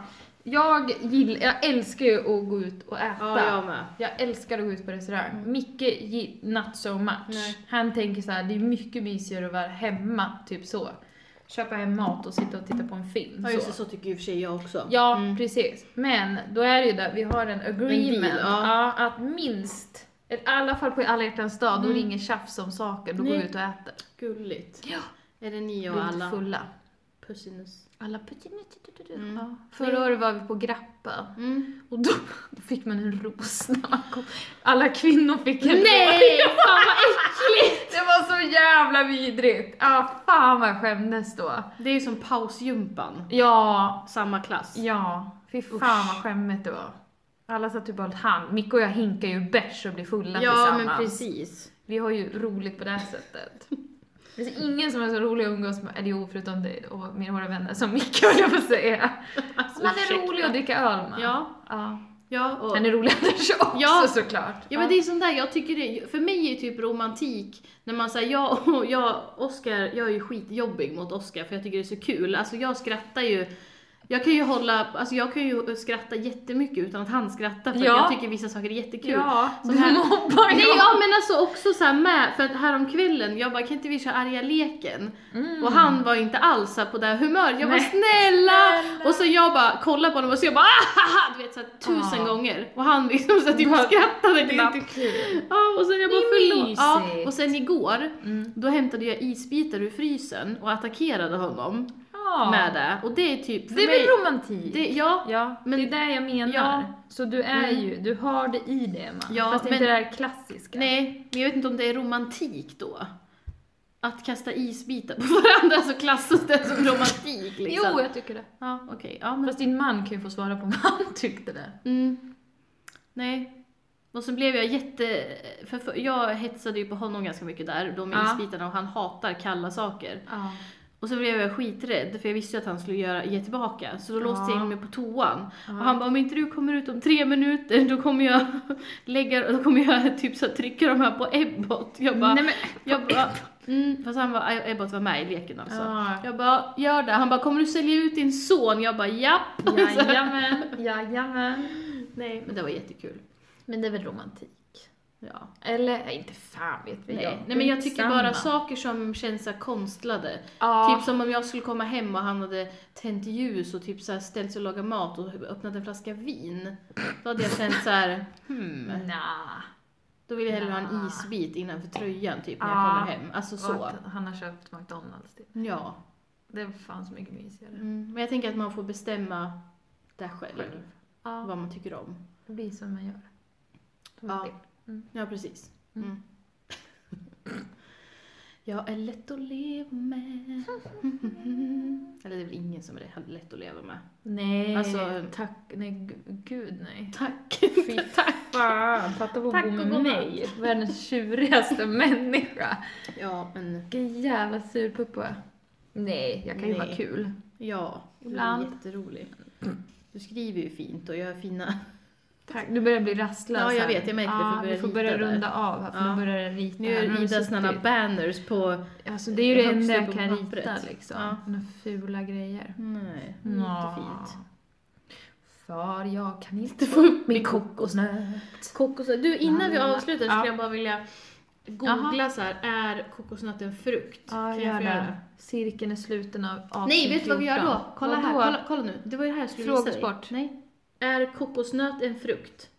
[SPEAKER 2] Jag, gill, jag älskar ju att gå ut och äta.
[SPEAKER 1] Ja, jag med.
[SPEAKER 2] Jag älskar att gå ut på restaurang.
[SPEAKER 1] Mm.
[SPEAKER 2] Micke, gi- not so much.
[SPEAKER 1] Nej.
[SPEAKER 2] Han tänker så här, det är mycket mysigare att vara hemma, typ så. Köpa hem mat och sitta och titta på en film.
[SPEAKER 1] Ja just det, så tycker ju i och för sig jag också.
[SPEAKER 2] Ja,
[SPEAKER 1] Mm.
[SPEAKER 2] precis. Men då är det ju där, vi har en agreement.
[SPEAKER 1] En deal,
[SPEAKER 2] ja.
[SPEAKER 1] ja.
[SPEAKER 2] att minst, i alla fall på alla hjärtans dag, då är det ingen tjafs om saker, då går vi
[SPEAKER 1] Mm. Nej.
[SPEAKER 2] ut och äter.
[SPEAKER 1] Gulligt.
[SPEAKER 2] Ja.
[SPEAKER 1] Är det ni
[SPEAKER 2] Vi
[SPEAKER 1] och
[SPEAKER 2] är inte
[SPEAKER 1] alla?
[SPEAKER 2] fulla.
[SPEAKER 1] Pussinus.
[SPEAKER 2] Alla petit-
[SPEAKER 1] Mm.
[SPEAKER 2] ja. Förra året var vi på Grappa.
[SPEAKER 1] Mm.
[SPEAKER 2] Och då, då fick man en ros när man kom. Alla kvinnor fick en
[SPEAKER 1] Nej,
[SPEAKER 2] ros. fan vad äckligt! Det var så jävla vidrigt. Ja, ah, fan vad jag skämdes då.
[SPEAKER 1] Det är ju som pausgympan.
[SPEAKER 2] Ja,
[SPEAKER 1] Samma klass.
[SPEAKER 2] ja. Fy fan
[SPEAKER 1] Usch.
[SPEAKER 2] vad skämmigt det var. Alla satt typ och höll hand. Micke och jag hinkar ju bärs och blir fulla
[SPEAKER 1] Ja
[SPEAKER 2] tillsammans.
[SPEAKER 1] men precis.
[SPEAKER 2] Vi har ju roligt på det här sättet. Det finns ingen som är så rolig att umgås med, eller jo, förutom dig och mina våra vänner, som Micke höll jag på att säga. Som man är
[SPEAKER 1] Alltså, Ursäkta.
[SPEAKER 2] rolig att dricka öl med.
[SPEAKER 1] Ja,
[SPEAKER 2] ja.
[SPEAKER 1] ja och...
[SPEAKER 2] Han är rolig Anders också
[SPEAKER 1] Ja.
[SPEAKER 2] såklart.
[SPEAKER 1] Ja men det är sånt där, jag tycker det, för mig är ju typ romantik, när man säger jag och jag, Oscar, jag är ju skitjobbig mot Oscar för jag tycker det är så kul, alltså jag skrattar ju, jag kan ju hålla, alltså jag kan ju skratta jättemycket utan att han skrattar för
[SPEAKER 2] Ja.
[SPEAKER 1] jag tycker vissa saker är jättekul.
[SPEAKER 2] Ja,
[SPEAKER 1] Så
[SPEAKER 2] du
[SPEAKER 1] här-
[SPEAKER 2] mobbar
[SPEAKER 1] Nej
[SPEAKER 2] jag.
[SPEAKER 1] ja men alltså också såhär med, för att häromkvällen, jag bara kan inte vi köra arga leken?
[SPEAKER 2] Mm.
[SPEAKER 1] Och han var ju inte alls så här på det här humöret, jag bara
[SPEAKER 2] Nej.
[SPEAKER 1] snälla!
[SPEAKER 2] Snälla.
[SPEAKER 1] Och så jag bara kollade på honom och så jag bara "Ahaha!" du vet såhär tusen
[SPEAKER 2] Ja.
[SPEAKER 1] gånger. Och han liksom så här, typ
[SPEAKER 2] Bara,
[SPEAKER 1] skrattade
[SPEAKER 2] Det är
[SPEAKER 1] knappt.
[SPEAKER 2] inte kul.
[SPEAKER 1] Ja, och sen jag
[SPEAKER 2] Det
[SPEAKER 1] bara
[SPEAKER 2] är
[SPEAKER 1] förlåt. Ja,
[SPEAKER 2] mysigt.
[SPEAKER 1] och sen igår,
[SPEAKER 2] Mm.
[SPEAKER 1] då hämtade jag isbitar ur frysen och attackerade honom
[SPEAKER 2] Ja.
[SPEAKER 1] med det. Och det är typ för
[SPEAKER 2] Det är
[SPEAKER 1] mig...
[SPEAKER 2] väl romantik?
[SPEAKER 1] det, ja,
[SPEAKER 2] Ja, men
[SPEAKER 1] Men-
[SPEAKER 2] det är det jag menar.
[SPEAKER 1] Ja.
[SPEAKER 2] Så du är
[SPEAKER 1] Mm.
[SPEAKER 2] ju, du har det i det Emma.
[SPEAKER 1] Ja,
[SPEAKER 2] Fast det är
[SPEAKER 1] men-
[SPEAKER 2] inte det här klassiska.
[SPEAKER 1] nej, men jag vet inte om det är romantik då. Att kasta isbitar på varandra så klassas det som romantik liksom.
[SPEAKER 2] Jo, jag tycker det.
[SPEAKER 1] Ja, okej. Ja, men...
[SPEAKER 2] Fast din man kan ju få svara på om han tyckte det.
[SPEAKER 1] Mm. Nej. Och så blev jag jätte... För, för, jag hetsade ju på honom ganska mycket där, då med
[SPEAKER 2] Ja.
[SPEAKER 1] isbitarna, och han hatar kalla saker.
[SPEAKER 2] Ja.
[SPEAKER 1] Och så blev jag skiträdd för jag visste ju att han skulle göra, ge tillbaka. Så då
[SPEAKER 2] Ja.
[SPEAKER 1] låste jag in mig på toan.
[SPEAKER 2] Ja.
[SPEAKER 1] Och han bara, om inte du kommer ut om tre minuter då kommer jag lägga, då kommer jag typ så här trycka de här på Ebbot. Jag bara,
[SPEAKER 2] Nej men...
[SPEAKER 1] jag bara, mm, fast han bara, Ebbot var med i leken alltså.
[SPEAKER 2] Ja.
[SPEAKER 1] Jag bara, gör det. Han bara, kommer du sälja ut din son? Jag bara, japp. Så här.
[SPEAKER 2] Jajamän, jajamän.
[SPEAKER 1] Nej, men det var jättekul.
[SPEAKER 2] Men det är väl romantik?
[SPEAKER 1] Ja.
[SPEAKER 2] Eller, nej, inte fan vet vi.
[SPEAKER 1] Nej.
[SPEAKER 2] Jag-
[SPEAKER 1] Nej men jag tycker bara
[SPEAKER 2] Skitsamma.
[SPEAKER 1] saker som känns så här konstlade.
[SPEAKER 2] Ja.
[SPEAKER 1] Typ som om jag skulle komma hem och han hade tänt ljus och typ så här ställt sig och lagat mat och öppnat en flaska vin. Då hade jag känt så här, hmm.
[SPEAKER 2] Mm. Nah.
[SPEAKER 1] Då vill jag hellre ha en isbit innanför tröjan typ när jag
[SPEAKER 2] Ja.
[SPEAKER 1] kommer hem. Alltså
[SPEAKER 2] Och
[SPEAKER 1] så.
[SPEAKER 2] att han har köpt McDonalds typ.
[SPEAKER 1] Ja.
[SPEAKER 2] Det är fan så mycket mysigare.
[SPEAKER 1] Mm. Men jag tänker att man får bestämma det själv.
[SPEAKER 2] Själv. Ja,
[SPEAKER 1] Vad man tycker om.
[SPEAKER 2] det blir som man gör. Som
[SPEAKER 1] Ja.
[SPEAKER 2] man vill.
[SPEAKER 1] Ja, precis. Mm. Jag är lätt att leva med. Eller det är väl ingen som är lätt att leva med.
[SPEAKER 2] Nej,
[SPEAKER 1] Alltså-
[SPEAKER 2] tack, nej gu- gud nej.
[SPEAKER 1] Tack.
[SPEAKER 2] Fy
[SPEAKER 1] Tack.
[SPEAKER 2] Fan, fatta vad
[SPEAKER 1] Tack
[SPEAKER 2] bo
[SPEAKER 1] och
[SPEAKER 2] med
[SPEAKER 1] godnatt.
[SPEAKER 2] mig. Världens tjurigaste människa.
[SPEAKER 1] Ja, men
[SPEAKER 2] Vilken jävla surpuppa. Nej, jag kan ju
[SPEAKER 1] Nej.
[SPEAKER 2] ha kul.
[SPEAKER 1] ja. du är
[SPEAKER 2] Ibland.
[SPEAKER 1] Jätterolig. Du skriver ju fint och gör fina...
[SPEAKER 2] Tack. Du börjar bli rastlös
[SPEAKER 1] Ja, jag
[SPEAKER 2] här.
[SPEAKER 1] vet, jag märker det.
[SPEAKER 2] ja,
[SPEAKER 1] Vi
[SPEAKER 2] Vi får
[SPEAKER 1] får
[SPEAKER 2] börja
[SPEAKER 1] rita där.
[SPEAKER 2] runda av här, för
[SPEAKER 1] Ja.
[SPEAKER 2] nu börjar det rita.
[SPEAKER 1] Nu
[SPEAKER 2] här. har
[SPEAKER 1] gör
[SPEAKER 2] de
[SPEAKER 1] Ida såna
[SPEAKER 2] suttit-
[SPEAKER 1] här banners på...
[SPEAKER 2] Alltså det är ju det
[SPEAKER 1] högst
[SPEAKER 2] enda
[SPEAKER 1] upp
[SPEAKER 2] jag
[SPEAKER 1] på
[SPEAKER 2] kan rita
[SPEAKER 1] pappret.
[SPEAKER 2] liksom.
[SPEAKER 1] Ja. Mm,
[SPEAKER 2] Några fula grejer.
[SPEAKER 1] Nej, det är
[SPEAKER 2] Ja.
[SPEAKER 1] inte fint.
[SPEAKER 2] För jag kan inte få upp min kokosnöt.
[SPEAKER 1] Kokos... Du, innan vi
[SPEAKER 2] Ja.
[SPEAKER 1] avslutar skulle
[SPEAKER 2] Ja.
[SPEAKER 1] jag bara vilja googla så här, är kokosnöten frukt?
[SPEAKER 2] Ja,
[SPEAKER 1] Kan
[SPEAKER 2] gör
[SPEAKER 1] få
[SPEAKER 2] det. Cirkeln är sluten av avsnitt
[SPEAKER 1] Nej, vet du vad vi gör
[SPEAKER 2] 14.
[SPEAKER 1] då? Kolla här,
[SPEAKER 2] Vadå?
[SPEAKER 1] kolla, kolla nu. Det var ju det här jag skulle
[SPEAKER 2] Frågesport.
[SPEAKER 1] visa dig. Nej. Är kokosnöt en frukt?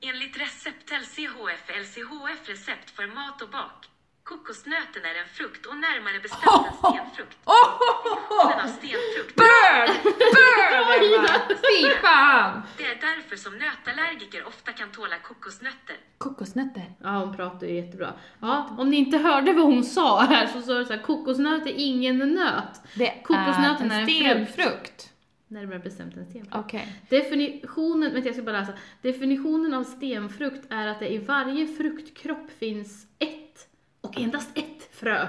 [SPEAKER 3] Enligt recept LCHF LCHF recept för mat och bak. Kokosnöten är en frukt och närmare bestämt en stenfrukt. Definitionen av stenfrukt.
[SPEAKER 2] Bög! Bög! Emma! Fy fan!
[SPEAKER 3] Det är därför som nötallergiker ofta kan tåla kokosnötter.
[SPEAKER 2] Kokosnötter.
[SPEAKER 1] Ja, hon pratar ju jättebra. Ja, om ni inte hörde vad hon sa här så sa hon så här, kokosnöt är ingen nöt.
[SPEAKER 2] Det
[SPEAKER 1] Kokosnöten är en
[SPEAKER 2] stenfrukt.
[SPEAKER 1] Närmare bestämt en stenfrukt.
[SPEAKER 2] Okej.
[SPEAKER 1] Definitionen, vänta jag ska bara läsa. Definitionen av stenfrukt är att det i varje fruktkropp finns ett, och endast ett, frö.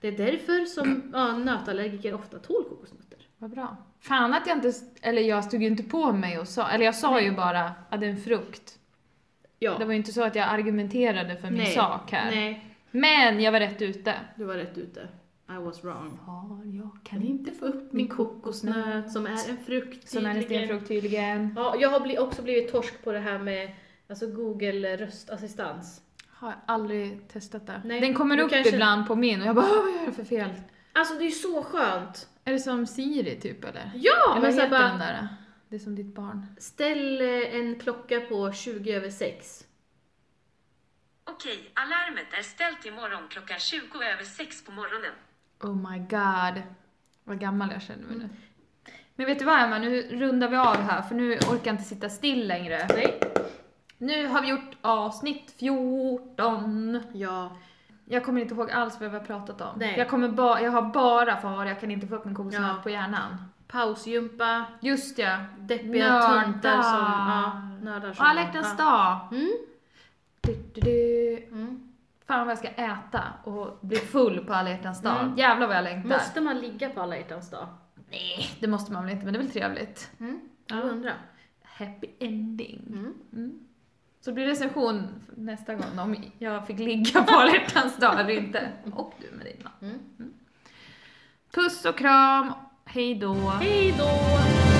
[SPEAKER 1] Det är därför som ja, nötallergiker ofta tål kokosnötter.
[SPEAKER 2] Vad bra. Fan att jag inte, eller jag stod ju inte på mig och sa, eller jag sa ju bara att det är en frukt.
[SPEAKER 1] Ja.
[SPEAKER 2] Det var ju inte så att jag argumenterade för min sak här.
[SPEAKER 1] Nej,
[SPEAKER 2] Men jag var rätt ute.
[SPEAKER 1] du var rätt ute. I was wrong.
[SPEAKER 2] Har jag
[SPEAKER 1] Kan inte få upp min kokosnöt som är en frukt
[SPEAKER 2] Som är en
[SPEAKER 1] tydligen.
[SPEAKER 2] stenfrukt tydligen.
[SPEAKER 1] Ja, jag har bli, också blivit torsk på det här med alltså Google röstassistans.
[SPEAKER 2] Har aldrig testat det.
[SPEAKER 1] Nej,
[SPEAKER 2] Den kommer
[SPEAKER 1] du
[SPEAKER 2] upp
[SPEAKER 1] kanske-
[SPEAKER 2] ibland på min och jag bara "Åh, vad gör jag för fel?
[SPEAKER 1] Alltså det är ju så skönt!
[SPEAKER 2] Är det som Siri typ eller?
[SPEAKER 1] Ja!
[SPEAKER 2] eller
[SPEAKER 1] Men
[SPEAKER 2] vad
[SPEAKER 1] så här
[SPEAKER 2] heter
[SPEAKER 1] bara,
[SPEAKER 2] den där? Det är som ditt barn.
[SPEAKER 1] ställ eh, en klocka på 20 över 6.
[SPEAKER 3] Okej, alarmet är ställt imorgon klockan 20 över 6 på morgonen.
[SPEAKER 2] Oh my god. Vad gammal jag känner mig nu. Men vet du vad Emma, nu rundar vi av här för nu orkar jag inte sitta still längre.
[SPEAKER 1] Nej.
[SPEAKER 2] Nu har vi gjort avsnitt 14.
[SPEAKER 1] Ja.
[SPEAKER 2] Jag kommer inte ihåg alls vad vi har pratat om.
[SPEAKER 1] Nej.
[SPEAKER 2] Jag, kommer ba- jag har bara faror, jag kan inte få upp min kokosnöt
[SPEAKER 1] Ja.
[SPEAKER 2] på hjärnan.
[SPEAKER 1] Pausgympa,
[SPEAKER 2] Just ja.
[SPEAKER 1] deppiga
[SPEAKER 2] Nördar.
[SPEAKER 1] töntar som... Ja, nördar som...
[SPEAKER 2] Alla hjärtans dag.
[SPEAKER 1] Mm.
[SPEAKER 2] Du, du, du.
[SPEAKER 1] Mm.
[SPEAKER 2] Fan vad jag ska äta och bli full på alla hjärtans dag.
[SPEAKER 1] Mm.
[SPEAKER 2] Jävlar vad jag längtar.
[SPEAKER 1] Måste man ligga på alla hjärtans dag?
[SPEAKER 2] Nej, det måste man väl inte men det är väl trevligt.
[SPEAKER 1] Mm.
[SPEAKER 2] Ja.
[SPEAKER 1] Jag undrar.
[SPEAKER 2] Happy ending.
[SPEAKER 1] Mm.
[SPEAKER 2] Mm. Så det blir recension nästa gång om jag fick ligga på alla hjärtans dag eller inte. Och du med din man.
[SPEAKER 1] Mm.
[SPEAKER 2] Puss och kram, hej då.
[SPEAKER 1] Hej då!